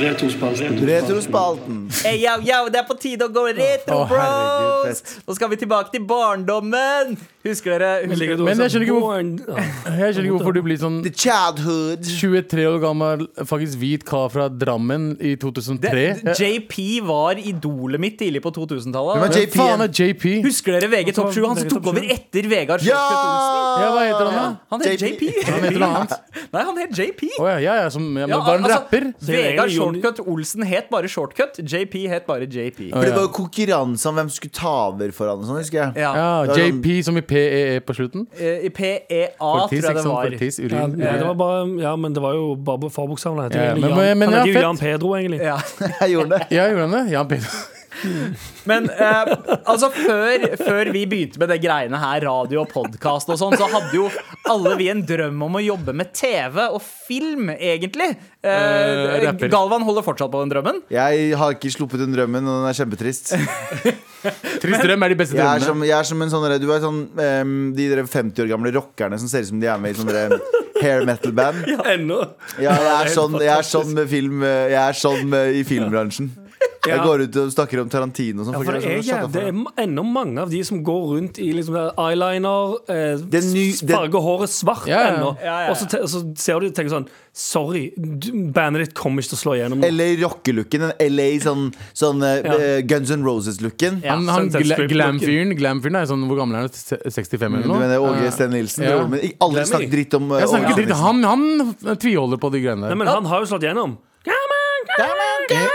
S9: Retrospalten.
S2: Retrospalten.
S4: Hey, yo, yo, det er på tide å gå retro,
S5: Å, herregud,
S4: bros! Nå skal vi tilbake til barndommen! Husker dere? Husker
S5: Men jeg skjønner ikke hvorfor-
S6: hvor
S5: Jeg skjønner ikke hvorfor du blir sånn
S2: The childhood.
S5: 23 år gammel, faktisk hvit kar fra Drammen i 2003.
S4: det, JP var idolet mitt tidlig på 2000-tallet.
S2: Hvem er
S5: Hvem
S2: JP?
S5: faen er JP?
S4: Husker dere VG Topp 7? Han som tok over etter Vegard
S2: Ja!
S4: Sjøstedt Olsen?
S5: Ja, hva heter han da?
S4: Han het JP.
S5: Han heter noe annet.
S4: *laughs* Nei, han het JP.
S5: Å ja, ja, ja, som, ja, men
S4: Ja,
S5: var han
S4: altså,
S5: rapper?
S4: Vegard
S6: det er egentlig
S4: Shortcut Olsen het bare Shortcut. JP het bare JP.
S2: For det var jo konkurranse om hvem som skulle ta over for han og sånn, husker jeg.
S4: Ja.
S5: Ja,
S2: sånn-
S5: JP som i PEE på slutten.
S4: Eh, I PEA, tror
S5: Fortis,
S4: jeg
S5: ikke
S4: det
S5: sant?
S4: var.
S5: Fortis,
S6: ja,
S5: urin.
S6: det var bare, ja, men det var jo bare forbokstavene.
S5: Ja,
S6: Ja,
S5: men- men- men
S6: han
S5: ja,
S6: heter jo
S5: fett.
S6: Jan Pedro, egentlig.
S4: Ja.
S2: *laughs* Jeg gjorde det.
S5: Ja, gjorde han det? Jan Peter.
S4: Men eh, altså, før, før vi begynte med det greiene her, radio og podkast og sånn, så hadde jo alle vi en drøm om å jobbe med TV og film, egentlig. Eh,
S5: Eh, rapper.
S4: Galvan holder fortsatt på den drømmen.
S2: Jeg har ikke sluppet den drømmen, og den er kjempetrist.
S5: Trist drøm er de beste
S2: Jeg er
S5: drømmene.
S2: som, jeg er som en sånn der- Du er sånn em, de der 50 år gamle rockerne som ser ut som de er med i sånne der hair metal-band.
S6: *laughs* Ennå.
S2: Ja, jeg er sånn, jeg er sånn, med film, jeg er sånn med, i filmbransjen. Jeg
S6: Ja.
S2: går ut og snakker om Tarantino. og Sånn,
S6: For
S2: folk er
S6: det er,
S2: sånn, «Shut
S6: jæv-
S2: up,
S6: det er
S2: faen».
S6: ma- ennå mange av de som går rundt i liksom der eyeliner, eh,
S2: Det er ny-
S6: s-
S2: det-
S6: farger håret svart
S5: Ja, ja.
S6: ennå,
S4: Ja, ja, ja.
S6: og så, te, så ser du og tenker sånn Sorry, du- bandet ditt kommer ikke til å slå igjennom.
S2: LA rockelooken. Den LA sånn, sånn eh,
S6: Ja.
S2: eh, Guns N' Roses-looken.
S4: Ja, sånn
S5: Han, han
S6: Sunset
S5: gla-
S6: Strip-looken.
S5: glam-fyren glam-fyren er sånn Hvor gammel er han? Se- 65
S2: Du
S5: eller noe?
S2: mener Åge
S5: Eh,
S2: Sten Nilsen?
S5: ja.
S2: broren min. Ik- Aldri
S6: Glemmer
S2: snakk
S6: ikke.
S2: dritt om eh,
S5: Jeg snakker
S2: Åge
S5: ikke
S2: Sten
S5: dritt.
S2: Nilsen.
S5: Han, han tviholder på de greiene
S6: Nei,
S5: der.
S6: men han har jo slått igjennom.
S5: Eh,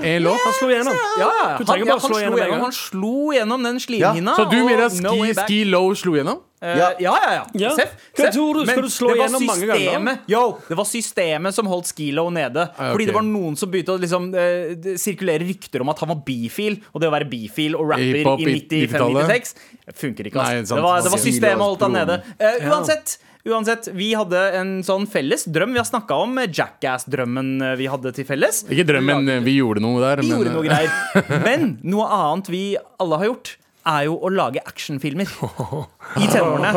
S5: En låt.
S6: Han slo igjennom.
S4: Ja, ja,
S6: Du
S4: han,
S6: trenger
S4: ja, han,
S6: bare slå
S4: slo
S6: gjennom en
S4: gjennom,
S6: gang.
S4: han slo gjennom den slimhinna.
S5: Så du mener at
S4: og no way
S5: Ski,
S4: back.
S5: ski Low slo gjennom?
S4: Eh, ja, ja, ja.
S6: Ja.
S4: Seff,
S6: Hva
S4: seff.
S6: tror du? Skal du slå
S4: det var
S6: gjennom mange ganger?
S4: systemet- Yo, det var systemet som holdt Skilo nede.
S5: Ah, ok.
S4: Fordi det var noen som begynte å liksom, eh, d- sirkulere rykter om at han var bifil. Og det å være bifil og rapper
S5: Hiphop i
S4: i 95-96 funker ikke.
S5: Nei,
S4: ass.
S5: sant.
S4: det, var, det var
S5: Skilo
S4: systemet holdt han
S5: broren.
S4: nede. Eh, uansett. Uansett, Vi hadde en sånn felles drøm. Vi har snakka om eh, Jackass-drømmen eh, vi hadde til felles.
S5: Ikke drømmen, eh, vi gjorde noe der.
S4: Vi
S5: men,
S4: gjorde noe
S5: eh,
S4: greier. Men noe annet vi alle har gjort, er jo å lage actionfilmer i tenårene.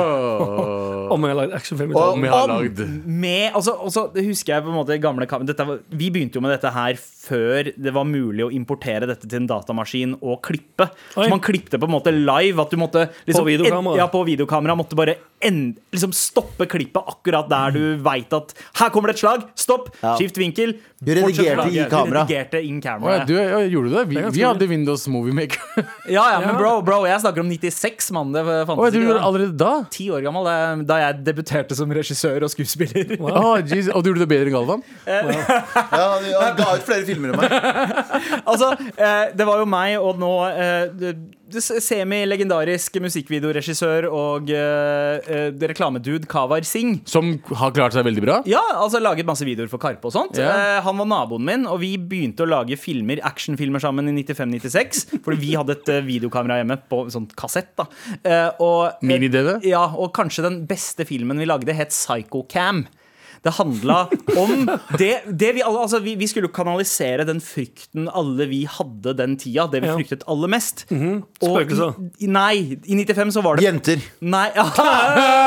S6: Om jeg har lagd actionfilm i dag.
S5: Om jeg har lagd
S4: Med, altså, altså, det husker jeg på en måte gamle kam- dette, var- Vi begynte jo med dette her før det var mulig å importere dette til en datamaskin og klippe.
S6: Oi.
S4: Så man klippte på en måte live. At du måtte liksom,
S6: videokamera.
S4: en- Ja, på videokamera måtte bare en, liksom stoppe klippet akkurat der du veit at Her kommer det et slag! Stopp!
S2: Ja.
S4: Skift vinkel.
S2: Du redigerte
S4: Fortsett å lage.
S2: i
S4: Vi
S2: kamera.
S4: Redigerte in
S5: Å
S4: camera.
S5: ja, du, ja, gjorde du det? Vi,
S6: ganske
S5: vi hadde Windows Movie Maker.
S4: Ja, ja, men bro, bro, jeg snakker om 96, mann. Det
S5: Å,
S4: fantes
S5: du gjorde det
S4: ikke. da.
S5: allerede *laughs* da?
S4: Ti år gammel det- da jeg debuterte som regissør og skuespiller.
S5: Å, jeez. Og du gjorde det bedre enn Galvan?
S2: Ja, han, han ga ut flere filmer enn meg.
S4: *laughs* altså, eh, det var jo meg og nå eh, det- det semi-legendarisk musikkvideoregissør og eh, eh, reklamedude Kavar Singh.
S5: Som har klart seg veldig bra?
S4: Ja, altså laget masse videoer for Karpe og sånt.
S5: Ja.
S4: Eh, han var naboen min, og vi begynte å lage filmer, actionfilmer sammen i 95-96. Fordi vi hadde et eh, videokamera hjemme på sånn kassett. da eh, og,
S5: Mini-DV?
S4: Ja, og kanskje den beste filmen vi lagde, het Psycho-Cam. Det handla om det, det vi alle Altså, vi, vi skulle jo kanalisere den frykten alle vi hadde den tida. Det vi
S6: Ja.
S4: fryktet aller mest.
S6: Spøkelser.
S4: Og i, i- nei, i 95 så var det
S2: Jenter.
S4: Nei.
S5: *laughs*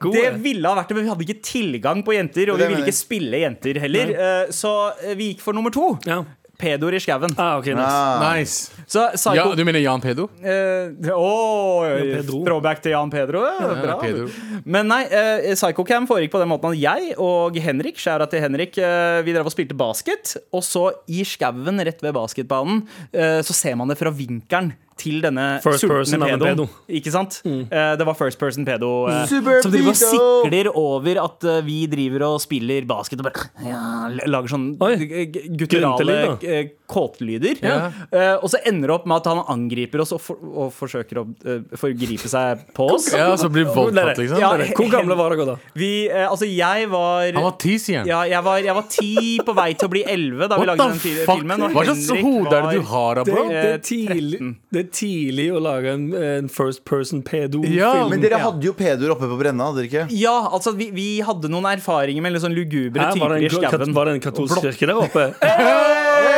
S6: God,
S4: Det
S6: eh.
S4: ville ha vært det, men vi hadde ikke tilgang på jenter. Og
S2: Det
S4: vi
S2: mener
S4: ville
S2: jeg.
S4: ikke spille jenter heller. Eh, Så eh, vi gikk for nummer to.
S6: Ja.
S4: Pedoer i skauen.
S6: Ah, ok, nice.
S5: Nice.
S4: Så
S5: Ja,
S4: Psycho
S5: du mener Jan Pedo?
S4: eh, Åh,
S6: Pedro.
S4: throwback til Jan Pedro. Ja, bra.
S5: Pedro.
S4: Men nei, eh, Psychocam foregikk på den måten at jeg og Henrik skjæra til Henrik eh, Vi drev og spilte basket, og så i skauen rett ved basketbanen eh, så ser man det fra vinkelen til denne
S6: First person
S4: sultne
S6: er en
S4: pedoen.
S6: pedo.
S4: Ikke sant? Eh, det var first person pedo. eh,
S2: Super
S4: som driver og
S2: pedo!
S4: sikler over at eh, vi driver og spiller basket og bare ja, lager sånn
S6: Oi.
S4: g- g- gutturale
S6: Gryntelyd, da.
S4: eh, kåtlyder.
S5: Ja.
S4: Eh, og så ender det opp med at han angriper oss og, for, og forsøker å eh, forgripe seg på oss.
S5: Ja, så blir voldtatt, liksom?
S4: Ja.
S6: Bare, Hvor gamle var dere da?
S4: Vi, eh, altså jeg var
S5: Han var ti, sier han.
S4: ja, jeg var, jeg var ti på vei til å bli elleve da vi lagde
S5: What the
S4: den fi-
S5: fuck?
S4: filmen. og
S5: Hva slags
S4: Henrik
S5: hode er det du
S4: var-
S5: har da,
S6: Det,
S5: bro?
S4: eh,
S6: det, er tidlig, det er tidlig å lage en, en first person pedofilm.
S5: Ja,
S2: Men dere hadde jo pedoer oppe på Brenna, hadde dere ikke?
S4: Ja, altså vi, vi hadde noen erfaringer med litt sånn lugubre
S6: Her var
S4: typer
S6: det,
S4: i
S6: en, kat-
S4: skauen.
S6: var det en katolsk kirke der
S5: *laughs*
S6: oppe?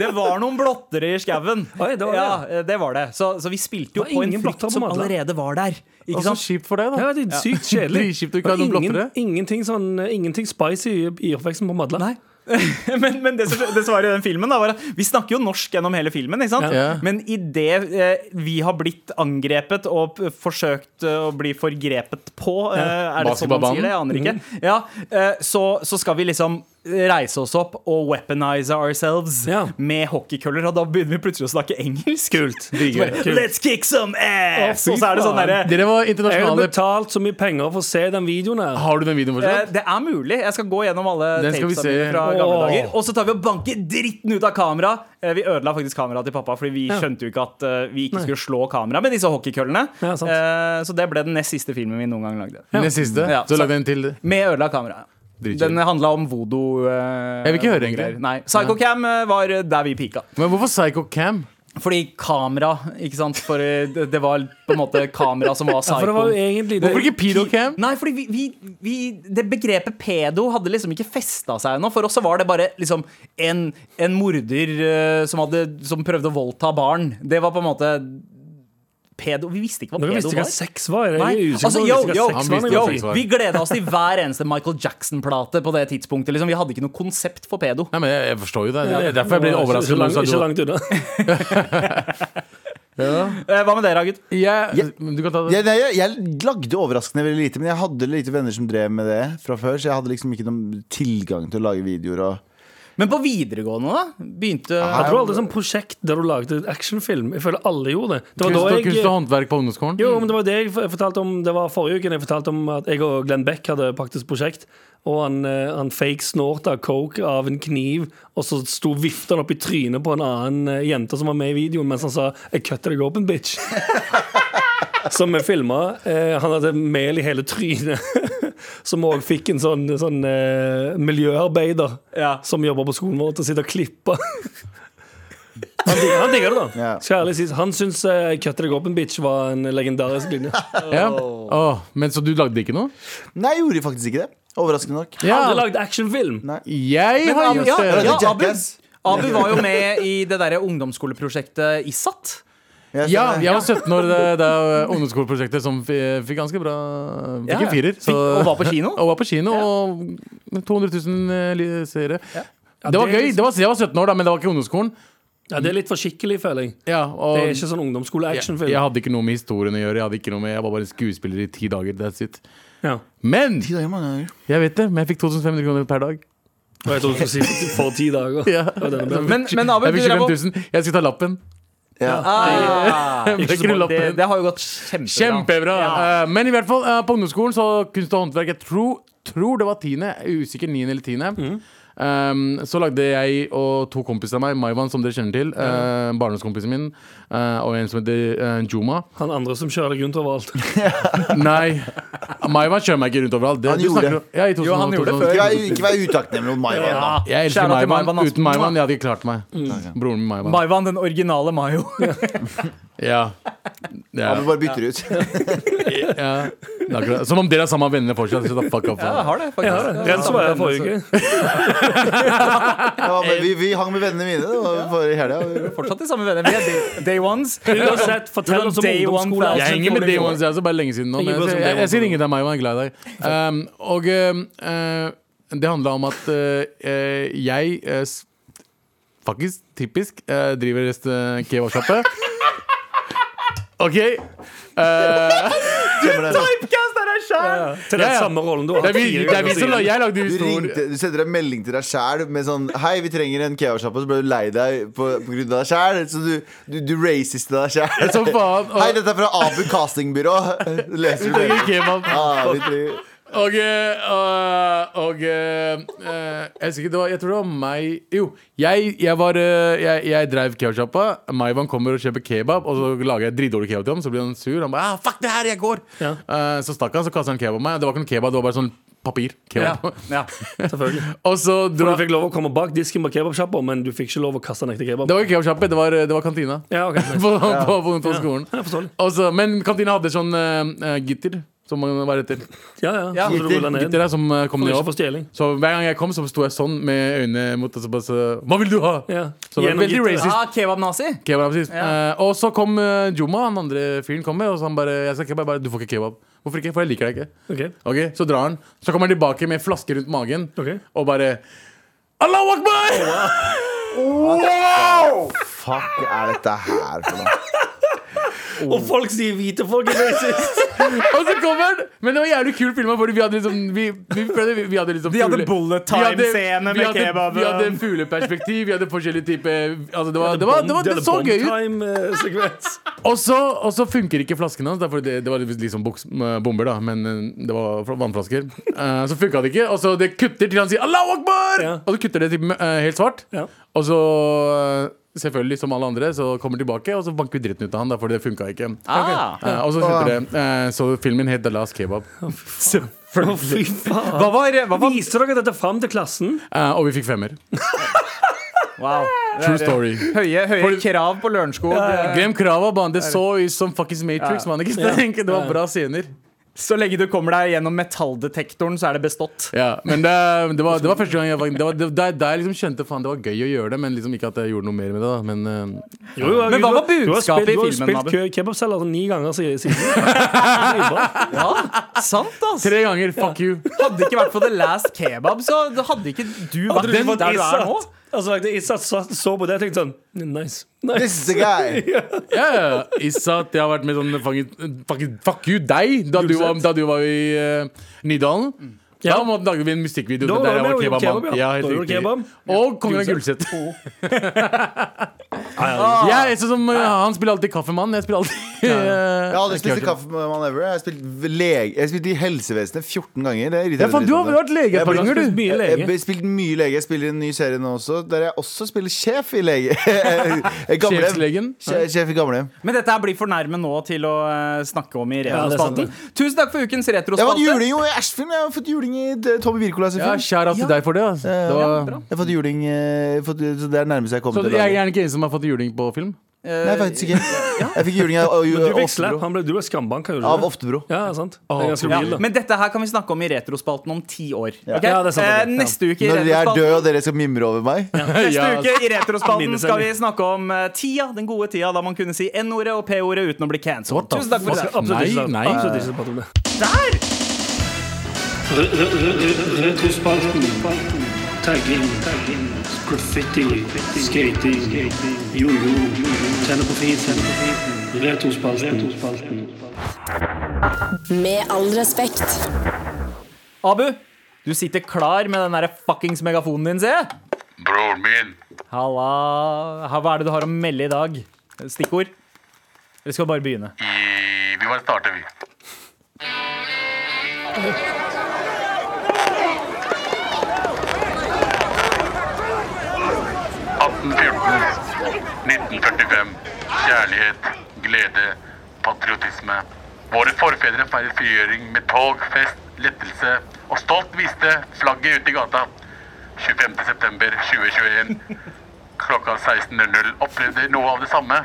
S4: Det var noen blottere i skauen.
S6: Oi, det var det.
S4: Ja, eh, det var det. Så, så vi spilte jo
S6: Det var
S4: på en
S6: ingen blotter
S4: frykt
S6: på
S4: som
S6: Madla.
S4: allerede var der. Ikke
S5: Og så
S4: sant?
S5: kjipt altså, for deg,
S6: Altså, Ja,
S5: da.
S6: det er sykt
S5: *laughs*
S6: kjedelig.
S5: Dritkjipt å ikke ha noen blottere.
S6: ingenting, sånn, ingenting spicy i, i oppveksten på Madla.
S4: Nei. *laughs* men men det, som- det som var i den filmen, da, var at vi snakker jo norsk gjennom hele filmen. Ikke sant?
S5: Ja.
S4: Men idet eh, vi har blitt angrepet og p- forsøkt eh, å bli forgrepet på, eh, er det sånn man
S5: Basketballbanen.
S4: sier det? Jeg aner ikke. Ja, eh, så, så skal vi liksom reise oss opp og weaponize ourselves
S6: Ja.
S4: med hockeykøller, og da begynner vi plutselig å snakke engelsk. Kult,
S5: Digger.
S4: Let's kick some ass!
S6: Å, fy
S4: og så er det sånn
S6: faen.
S4: derre
S5: Dere var
S6: Jeg har
S5: internasjonale.
S6: betalt så mye penger for å se den videoen her.
S5: Har du den videoen
S4: Eh,
S5: fortsatt?
S4: Det er mulig. Jeg skal gå gjennom alle
S5: Den skal vi
S4: tapesa mine
S5: se.
S4: fra gamle
S6: Åh.
S4: dager. Og så tar vi og banker dritten ut av kamera. Eh, Vi ødela faktisk kameraet til pappa, fordi vi skjønte jo ikke at eh, vi ikke skulle slå kameraet med disse hockeykøllene.
S6: Ja, sant.
S4: Eh, så det ble den nest siste filmen vi noen gang lagde.
S5: Den siste?
S4: Ja,
S5: Så
S4: så-
S5: lag en til.
S4: Med ødela kamera.
S5: Dritkjedelig.
S4: Den handla om voodoo. eh,
S5: Jeg vil ikke høre,
S4: voodoo-greier.
S5: egentlig.
S4: Nei. Psychocam eh, var der vi pika.
S5: Men hvorfor Psycho Cam?
S4: Fordi kamera, ikke sant. For eh, det det var på en måte kamera som var
S6: Ja, for det var
S4: psycho.
S6: jo egentlig det.
S5: Hvorfor ikke Pedo Cam?
S4: Nei, fordi vi, vi, vi Det begrepet pedo hadde liksom ikke festa seg ennå. For oss så var det bare liksom en, en morder eh, som, hadde, som prøvde å voldta barn. Det var på en måte pedo. Vi visste ikke hva
S6: Dere
S4: pedo
S6: visste ikke
S4: var.
S6: hva sex var?
S4: Nei,
S6: Jeg er usikker
S4: altså,
S6: på om
S4: yo,
S6: dere visste
S4: yo,
S6: hva sex var.
S5: Han visste
S4: yo,
S5: hva sex var.
S4: vi gleda oss til hver eneste Michael Jackson-plate på det tidspunktet. Liksom, vi hadde ikke noe konsept for pedo.
S5: Nei, men jeg, jeg forstår jo det. Det er derfor jeg ble
S6: Ikke
S5: overrasket. når
S6: langt-
S5: du sa
S6: Ikke
S5: du-
S6: langt unna.
S4: Eh, Hva med dere, gutt?
S5: Jeg- Du kan ta det.
S2: Jeg, nei, jeg, jeg lagde overraskende veldig lite, men jeg hadde lite venner som drev med det fra før, så jeg hadde liksom ikke noen tilgang til å lage videoer og
S4: Men på videregående, da? Begynte
S6: Jeg tror aldri sånn prosjekt der du lagde en actionfilm. Jeg føler alle gjorde det. Det var da
S5: Kunst og, kunst og
S6: jeg
S5: håndverk på ungdomsskolen.
S6: jo, men det var det jeg fortalte om Det var forrige uke. Jeg fortalte om at jeg og Glenn Beck hadde praktisk prosjekt. Og han, eh, han fake snorta coke av en kniv, og så sto vifta han opp i trynet på en annen eh, jente som var med i videoen, mens han sa 'I cut deg open, bitch'. *laughs* Som vi filma. Eh, han hadde mel i hele trynet. *laughs* Som òg fikk en sånn, sånn eh, miljøarbeider
S4: Ja.
S6: som jobber på skolen vår, til å sitte og klippe. Han digger, han digger det, da.
S2: Ja.
S6: Skal jeg ærlig si. Han syns eh, 'Cut deg open, bitch' var en legendarisk linje.
S5: Ja. Åh, men så du lagde ikke noe?
S2: Nei, jeg gjorde faktisk ikke det. Overraskende nok.
S6: Jeg har aldri lagd actionfilm.
S5: Jeg
S4: Men
S5: har
S4: Abu,
S5: gjort
S4: ja,
S5: det.
S4: ja,
S2: Eller
S4: Abu,
S2: Jackass.
S4: Abu var jo med i det derre ungdomsskoleprosjektet ISAT.
S2: Jeg
S5: Ja,
S2: stemmer.
S5: jeg var 17 år da- da ungdomsskoleprosjektet som fi- fikk ganske bra Fikk
S4: Ja,
S5: en firer.
S4: Fikk- *laughs* og var på kino.
S5: Og var på kino og 200 000 eh, li- seere. Det var
S6: det er
S5: gøy. Det var, jeg var 17 år da, men det var ikke ungdomsskolen.
S6: Ja, det er litt for skikkelig, føler jeg.
S5: Ja, og
S6: Det er ikke sånn
S5: jeg,
S6: ungdomsskole-actionfilm.
S5: jeg hadde ikke noe med historien å gjøre. Jeg, hadde ikke noe med, jeg var bare skuespiller i ti dager. That's it.
S6: Ja.
S5: Men
S2: Ti dager, mange dager.
S5: jeg vet det, men jeg fikk 2500 kroner per dag.
S6: Og jeg tror du skulle si for ti dager.
S5: Ja.
S6: Det var denne bra.
S4: Men, men Abu,
S5: Jeg
S4: du
S5: fikk
S4: drev
S5: 25
S4: og
S5: 000. Jeg skulle ta lappen.
S4: Ah, *laughs*
S5: Jeg
S6: Ikke så
S5: fikk
S6: bra.
S5: lappen.
S4: det, det har jo gått kjempebra.
S5: Kjempebra!
S4: Ja.
S5: Eh, men i hvert fall, eh, på ungdomsskolen så kunst og håndverk Jeg tror, tror det var tiende, jeg er usikker niende eller tiende.
S4: Mm.
S5: Um, så lagde jeg og to kompiser av meg, Maivan, som dere kjenner til, eh, barndomskompisen min, eh, og en som heter eh, Juma.
S6: Han andre som kjører deg rundt overalt.
S5: Nei, Maivan kjører meg ikke rundt overalt. Det,
S2: Han
S5: du
S2: gjorde
S5: snakker om- Ja, i 2000,
S4: Jo, han gjorde det
S2: Ikke vær, ikke vær utakknemlig mot meg. Ja.
S5: Jeg elsker
S4: Kjære til Maivan, Mm.
S5: Maivan.
S4: altså.
S5: Uten Maivan jeg hadde ikke klart meg. Broren min Maivan.
S4: Maivan, den originale *laughs* Mayo. *laughs*
S5: Ja. Ja.
S2: Abu bare bytter ut.
S5: Ja. Det er akkurat- Som om dere er sammen med vennene fortsatt. Så da fuck off.
S4: Jeg har det,
S6: Ja,
S4: faktisk.
S6: Renzo var her forrige uke.
S2: *laughs* Ja, men vi, vi hang med vennene mine det var forrige helga.
S4: Fortsatt de samme venner. Vi er day, day ones.
S6: Uansett, fortell oss om
S4: Day one
S6: ungdomsskole.
S5: Jeg henger med Day Ones, jeg også, bare lenge siden nå. Men
S6: Ingen
S5: jeg,
S6: bryr seg om
S5: jeg,
S6: Day
S5: jeg,
S6: Ones.
S5: skal ringe deg, Maivan. Jeg er glad i deg. Um, og um, eh, det handla om at eh, eh, jeg eh, s- faktisk typisk eh, driver rest uh,
S2: *laughs*
S5: kebabsjappe. OK? Eh,
S4: *laughs* Typecast er deg sjæl!
S6: Til den
S5: Ja, ja.
S6: samme rollen du har
S5: det er vi, det er vi som la, Jeg lagde
S2: Du,
S5: historien.
S2: ringte, du sendte en melding til deg sjæl med sånn Hei, vi trenger en kebabsjappe. Så ble du lei deg på, på grunn av deg sjæl. Så du, du, du raciste deg sjæl.
S5: Som faen.
S2: *laughs* Hei,
S5: Og,
S2: dette er fra Abu castingbyrå.
S5: *laughs*
S2: Leser du det?
S5: kebab. *laughs*
S2: Ja, Ah, vi trenger-
S5: Og, eh, og, og eh, eh, jeg, husker ikke, det var, jeg tror det var meg Jo, jeg, jeg var eh, Jeg, jeg drev kebabsjappa. Maivan kommer og kjøper kebab, og så lager jeg dritdårlig kebab til ham. Så blir han sur. Han bare ah, 'fuck det her, jeg går'.
S6: Ja.
S5: Eh, så stakk han, så kastet han kebab på meg. Det var ikke noe kebab, det var bare sånn papir. Kebab.
S4: Ja.
S6: Selvfølgelig.
S5: *laughs* og så
S6: Du
S5: dro
S6: fikk lov å komme bak disken på kebabsjappa, men du fikk ikke lov å kaste en ekte kebab.
S5: Det var ikke kebabsjappe, det, var- det var kantina. *laughs*
S6: Ja, ok
S5: På, på, på, på skolen.
S6: Ja, forståelig.
S5: Og så- men kantina hadde sånn eh, eh, gitter som man var etter.
S6: Ja, ja. Så du ruller ned.
S5: Gitter der som eh, kom
S6: Kommer
S5: ned
S6: ikke
S5: opp.
S6: for stjeling.
S5: Så hver gang jeg kom, så sto jeg sånn med øynene mot og så bare så, Hva vil du ha?
S6: Ja.
S5: Så det var
S6: Gjennom
S5: veldig
S6: gitter.
S5: racist.
S4: Ah, Kebab-nazi.
S5: Kebab sist. Eh, og så kom eh, Juma, han andre fyren, kom med, og så han bare Jeg sa kebab, bare, du får ikke kebab. Hvorfor ikke? For jeg liker deg ikke.
S6: Ok.
S5: Ok, Så drar han. Så kommer han tilbake med flaske rundt magen
S6: Ok.
S5: og bare Allahu akbar!
S2: Fuck er dette her for noe?
S6: Og folk sier hvite folk er *laughs* racist!
S5: Og så kommer han! Men det var jævlig kul film, fordi vi hadde liksom Vi, vi, prøvde, vi, vi hadde liksom
S4: De hadde
S5: fugle-
S4: bullet
S5: Vi hadde-
S4: time-scene med
S5: vi hadde-
S4: kebaben.
S5: Vi hadde fugleperspektiv, vi hadde forskjellige typer altså, det, var, det, var, det, var, det så gøy ut.
S6: eh, ut.
S5: Og så, og så funker ikke flaskene hans. derfor Det, det var liksom boks, m- bomber, da, men eh, det var fra- vannflasker. Eh, så funka det ikke, og så det kutter til han sier 'Allahu akbar!'
S6: Ja.
S5: Og så kutter det til eh, helt svart.
S6: Ja.
S5: Og så, eh, selvfølgelig, som alle andre, så kommer han tilbake, og så banker vi dritten ut av han, da, for det funka ikke.
S4: Ah.
S5: Eh, og så heter det eh, Så filmen het The Last Kebab.
S6: Å, fy faen.
S4: Hva var, hva var
S6: Viser dere dette fram til klassen?
S5: Eh, og vi fikk femmer.
S4: Wow.
S5: True story.
S4: Høye, høye
S5: For-
S4: krav på Lørenskog.
S5: Glem krava, mann. Det så ut som fuckings Matrix. Man, ikke? Det var bra scener.
S4: Så lenge du kommer deg gjennom metalldetektoren, så er det bestått.
S5: Ja, men det, det, var, det var første gang jeg var, det var, det, der, der jeg liksom kjente faen, det var gøy å gjøre det, men liksom ikke at jeg gjorde noe mer med det. da Men eh,
S6: Jo, jo,
S4: Men
S6: jo,
S4: hva var
S6: du har
S4: budskapet
S6: spilt-
S4: i filmen,
S6: Du har
S4: Abu?
S6: spilt kø- kebabselger ni ganger si-
S4: *laughs*
S6: siden. Det er bra.
S4: Sant, ass!
S5: tre ganger, fuck you!
S4: Hadde det ikke vært for The Last Kebab, så hadde ikke du
S6: Hadde
S4: vært
S6: du fått
S4: der du er
S6: Izzat-
S4: nå.
S6: Altså, like, Izzat så, så på det og tenkte sånn Nice. nice.
S2: This is the
S6: *laughs*
S2: guy.
S5: Ja, ja. Isat, jeg har vært med sånn fanget, fuck, fuck you, deg, da du var, da du var i eh, Nydalen. Ja. Da må- lagde vi en musikkvideo.
S6: Da
S5: Det der
S6: var
S5: er
S6: det
S5: vår
S6: jo
S5: kebab.
S6: kebab, ja.
S5: mann. Ja, helt
S6: Da var det
S5: riktig.
S6: kebab.
S5: Og kongen av
S6: *laughs*
S5: Gulset. Jeg er sånn som, uh, han spiller alltid kaffemann. Jeg spiller alltid eh,
S2: Jeg har aldri spist kaffemann ever. Jeg har spilt, lege. Jeg har spilt i helsevesenet 14 ganger. Det irriterer
S5: Ja, faen,
S2: meg
S5: du har
S2: litt.
S5: vel vært lege et
S2: Jeg
S5: par
S2: blir-
S5: ganger, du.
S6: Mye
S2: Jeg- Jeg
S6: lege.
S2: har spilt mye lege. Jeg spiller en ny serie nå også, der jeg også spiller sjef i lege. *laughs* Gamlehjem.
S5: Sjefslegen?
S2: Sje- Sjef i gamlehjem.
S4: Men dette her blir for nærme nå til å eh, snakke om i
S6: det er sant,
S4: retrospalten. Tusen takk for ukens
S2: Jeg var en
S4: retrospalte.
S2: juling jo i Ashfin. Jeg har fått juling i eh, Tommy Wirkolas
S5: Ja,
S2: film.
S5: Skjær av til deg for det. Altså.
S2: Eh,
S5: det var,
S2: Jeg har fått juling eh, fått, Så det er nærmest jeg
S5: så
S2: kommer til.
S5: jeg er
S2: laget.
S5: gjerne ikke en som har fått juling på film.
S2: Nei, faktisk
S5: *laughs*
S2: ikke. Jeg fikk juling av,
S6: Du
S2: av,
S6: fikk slapp.
S2: Oftebro.
S6: Han ble, du ble skambanka, gjorde
S2: av
S6: du ikke det?
S2: Oftebro.
S6: Ja, sant. Det er ganske
S4: Ja,
S6: real, da.
S4: men dette her kan vi snakke om i retrospalten om ti år. ok?
S6: Ja, det er sant,
S4: Eh,
S6: det er sant.
S4: Neste uke i
S2: Når jeg er død
S4: retrospalten
S2: og dere skal mimre over meg.
S4: Neste
S5: Ja.
S4: uke i retrospalten
S6: Minnesending.
S4: skal vi snakke om eh, tida, den gode tida da man kunne si N-ordet og P-ordet uten å bli cancelled. Tusen takk for i dag.
S6: Absolutt ikke sant.
S5: Nei, nei.
S6: Absolutt ikke sant, Patrone.
S4: Der!
S9: Re- re- re- Retrospalten. Tagging. Graffiti. Skating. Jojo. Tenne på feeden. Retrospalten.
S7: Med all respekt.
S4: Abu, du sitter klar med den der fuckings megafonen din, se.
S10: Broren min,
S4: Halla. Ha- Hva er det du har å melde i dag? Stikkord? Eller skal vi bare begynne?
S10: i... vi bare starter, vi. «1814, 1945. Kjærlighet, glede, patriotisme. Våre forfedre feiret frigjøring med tog, fest, lettelse og stolt viste flagget ut i gata. 25. september 2021 klokka 16.00 opplevde noe av det samme.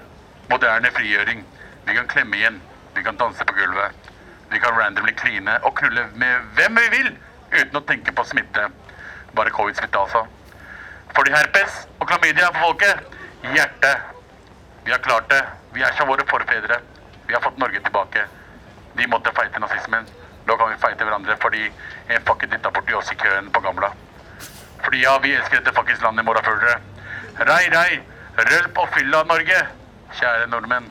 S10: Moderne frigjøring. Vi kan klemme igjen. Vi kan danse på gulvet. Vi kan randomly kline og knulle med hvem vi vil uten å tenke på smitte. Bare covid-smitte, altså. Fordi herpes og klamydia er for folket. Hjertet. Vi har klart det. Vi er som våre forfedre. Vi har fått Norge tilbake. De måtte feite nazismen. Nå kan vi feite hverandre fordi en fucker dytta borti oss i køen på Gamla. Fordi ja, vi elsker dette fuckings landet, morafølgere. Rei, rei, rølp og fylla Norge. Kjære nordmenn.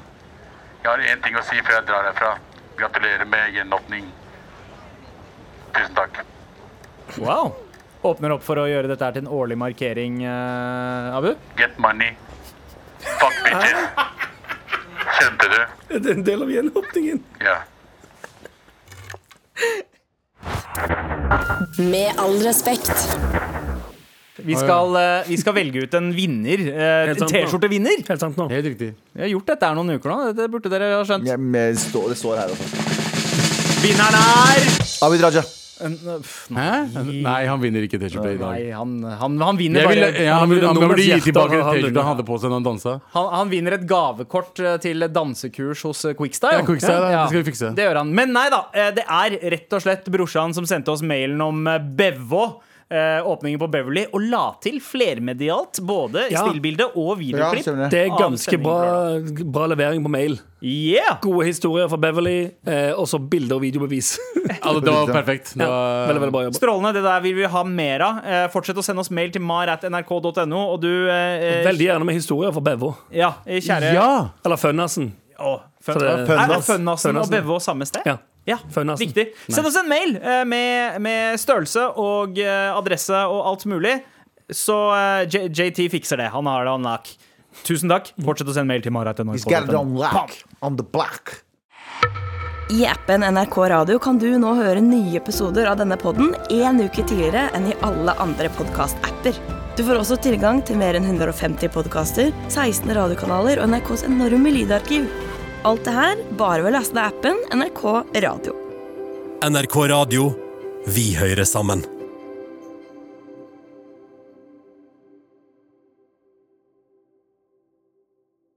S10: Jeg har én ting å si før jeg drar herfra. Gratulerer med gjenåpning. Tusen takk.
S4: Wow. Åpner opp for å gjøre dette her til en årlig markering, eh, Abu.
S10: Get money. Fuck bitches. Kjente du?
S6: Er Det er en del av gjenåpningen.
S10: Ja.
S7: Med all respekt.
S4: Vi skal, eh, vi skal velge ut en vinner. eh,
S6: Helt sant, da.
S4: T-skjortevinner.
S6: Helt sant nå.
S5: Helt riktig.
S4: Vi har gjort dette her noen uker nå. Dette burde dere ha skjønt.
S2: Jeg, men stå, det står her altså. også.
S4: Vinneren er
S2: Abid Raja.
S4: En, eh, pff,
S5: Hæ? Nei, han vinner ikke T-skjorte i dag.
S4: Nei, han, han, han vinner
S5: Jeg
S4: bare
S5: vil, ja, han, vil, han,
S6: nummer
S5: burde gi
S6: hjerte
S5: tilbake
S6: har han
S5: T-skjorta
S6: vunnet.
S5: han hadde på seg når han dansa.
S4: Han, han vinner et gavekort eh, til dansekurs hos eh, Quickstyle.
S5: Ja, Quickstyle, det skal vi fikse.
S4: Det gjør han. Men nei da, eh, det er rett og slett brorsan som sendte oss mailen om eh, Bevå. eh, Åpningen på Beverly, og la til flermedialt. Både
S6: Ja.
S4: stillbilde og videoklipp.
S2: stemmer
S6: Det er
S4: Annen
S6: ganske
S4: stemning
S6: bra, bra levering på mail.
S4: Yeah!
S6: Gode historier fra Beverly, eh, og så bilder og videobevis.
S5: Altså, det var perfekt. Det var,
S6: Veldig, veldig bra jobba.
S4: Strålende. Det der vil vi ha mer av. Eh, Fortsett å sende oss mail til mar.nrk.no. Og du, eh,
S6: Veldig gjerne med historier fra Bevo.
S4: ja, eh, kjære
S5: Ja!
S6: Eller Fønnassen.
S4: Å,
S6: Så det-
S4: Fønnas. Er det Fønnasen og
S6: Fønnasen.
S4: Bevå samme sted?
S6: Ja.
S4: Ja,
S6: Fønnasen.
S4: riktig. Send oss en mail eh, med, med størrelse og eh, adresse og alt mulig. Så eh, J JT fikser det. Han har det on lock. Tusen takk. Fortsett å sende mail til
S2: He's got it
S4: marat.nrk.no.
S2: on lock. On the black.
S11: I appen NRK Radio kan du nå høre nye episoder av denne podden en uke tidligere enn i alle andre podcast-apper. Du får også tilgang til mer enn 150 podcaster, 16 radiokanaler og NRKs enorme lydarkiv. Alt det her bare ved å laste ned appen NRK Radio.
S12: NRK Radio. Vi hører sammen.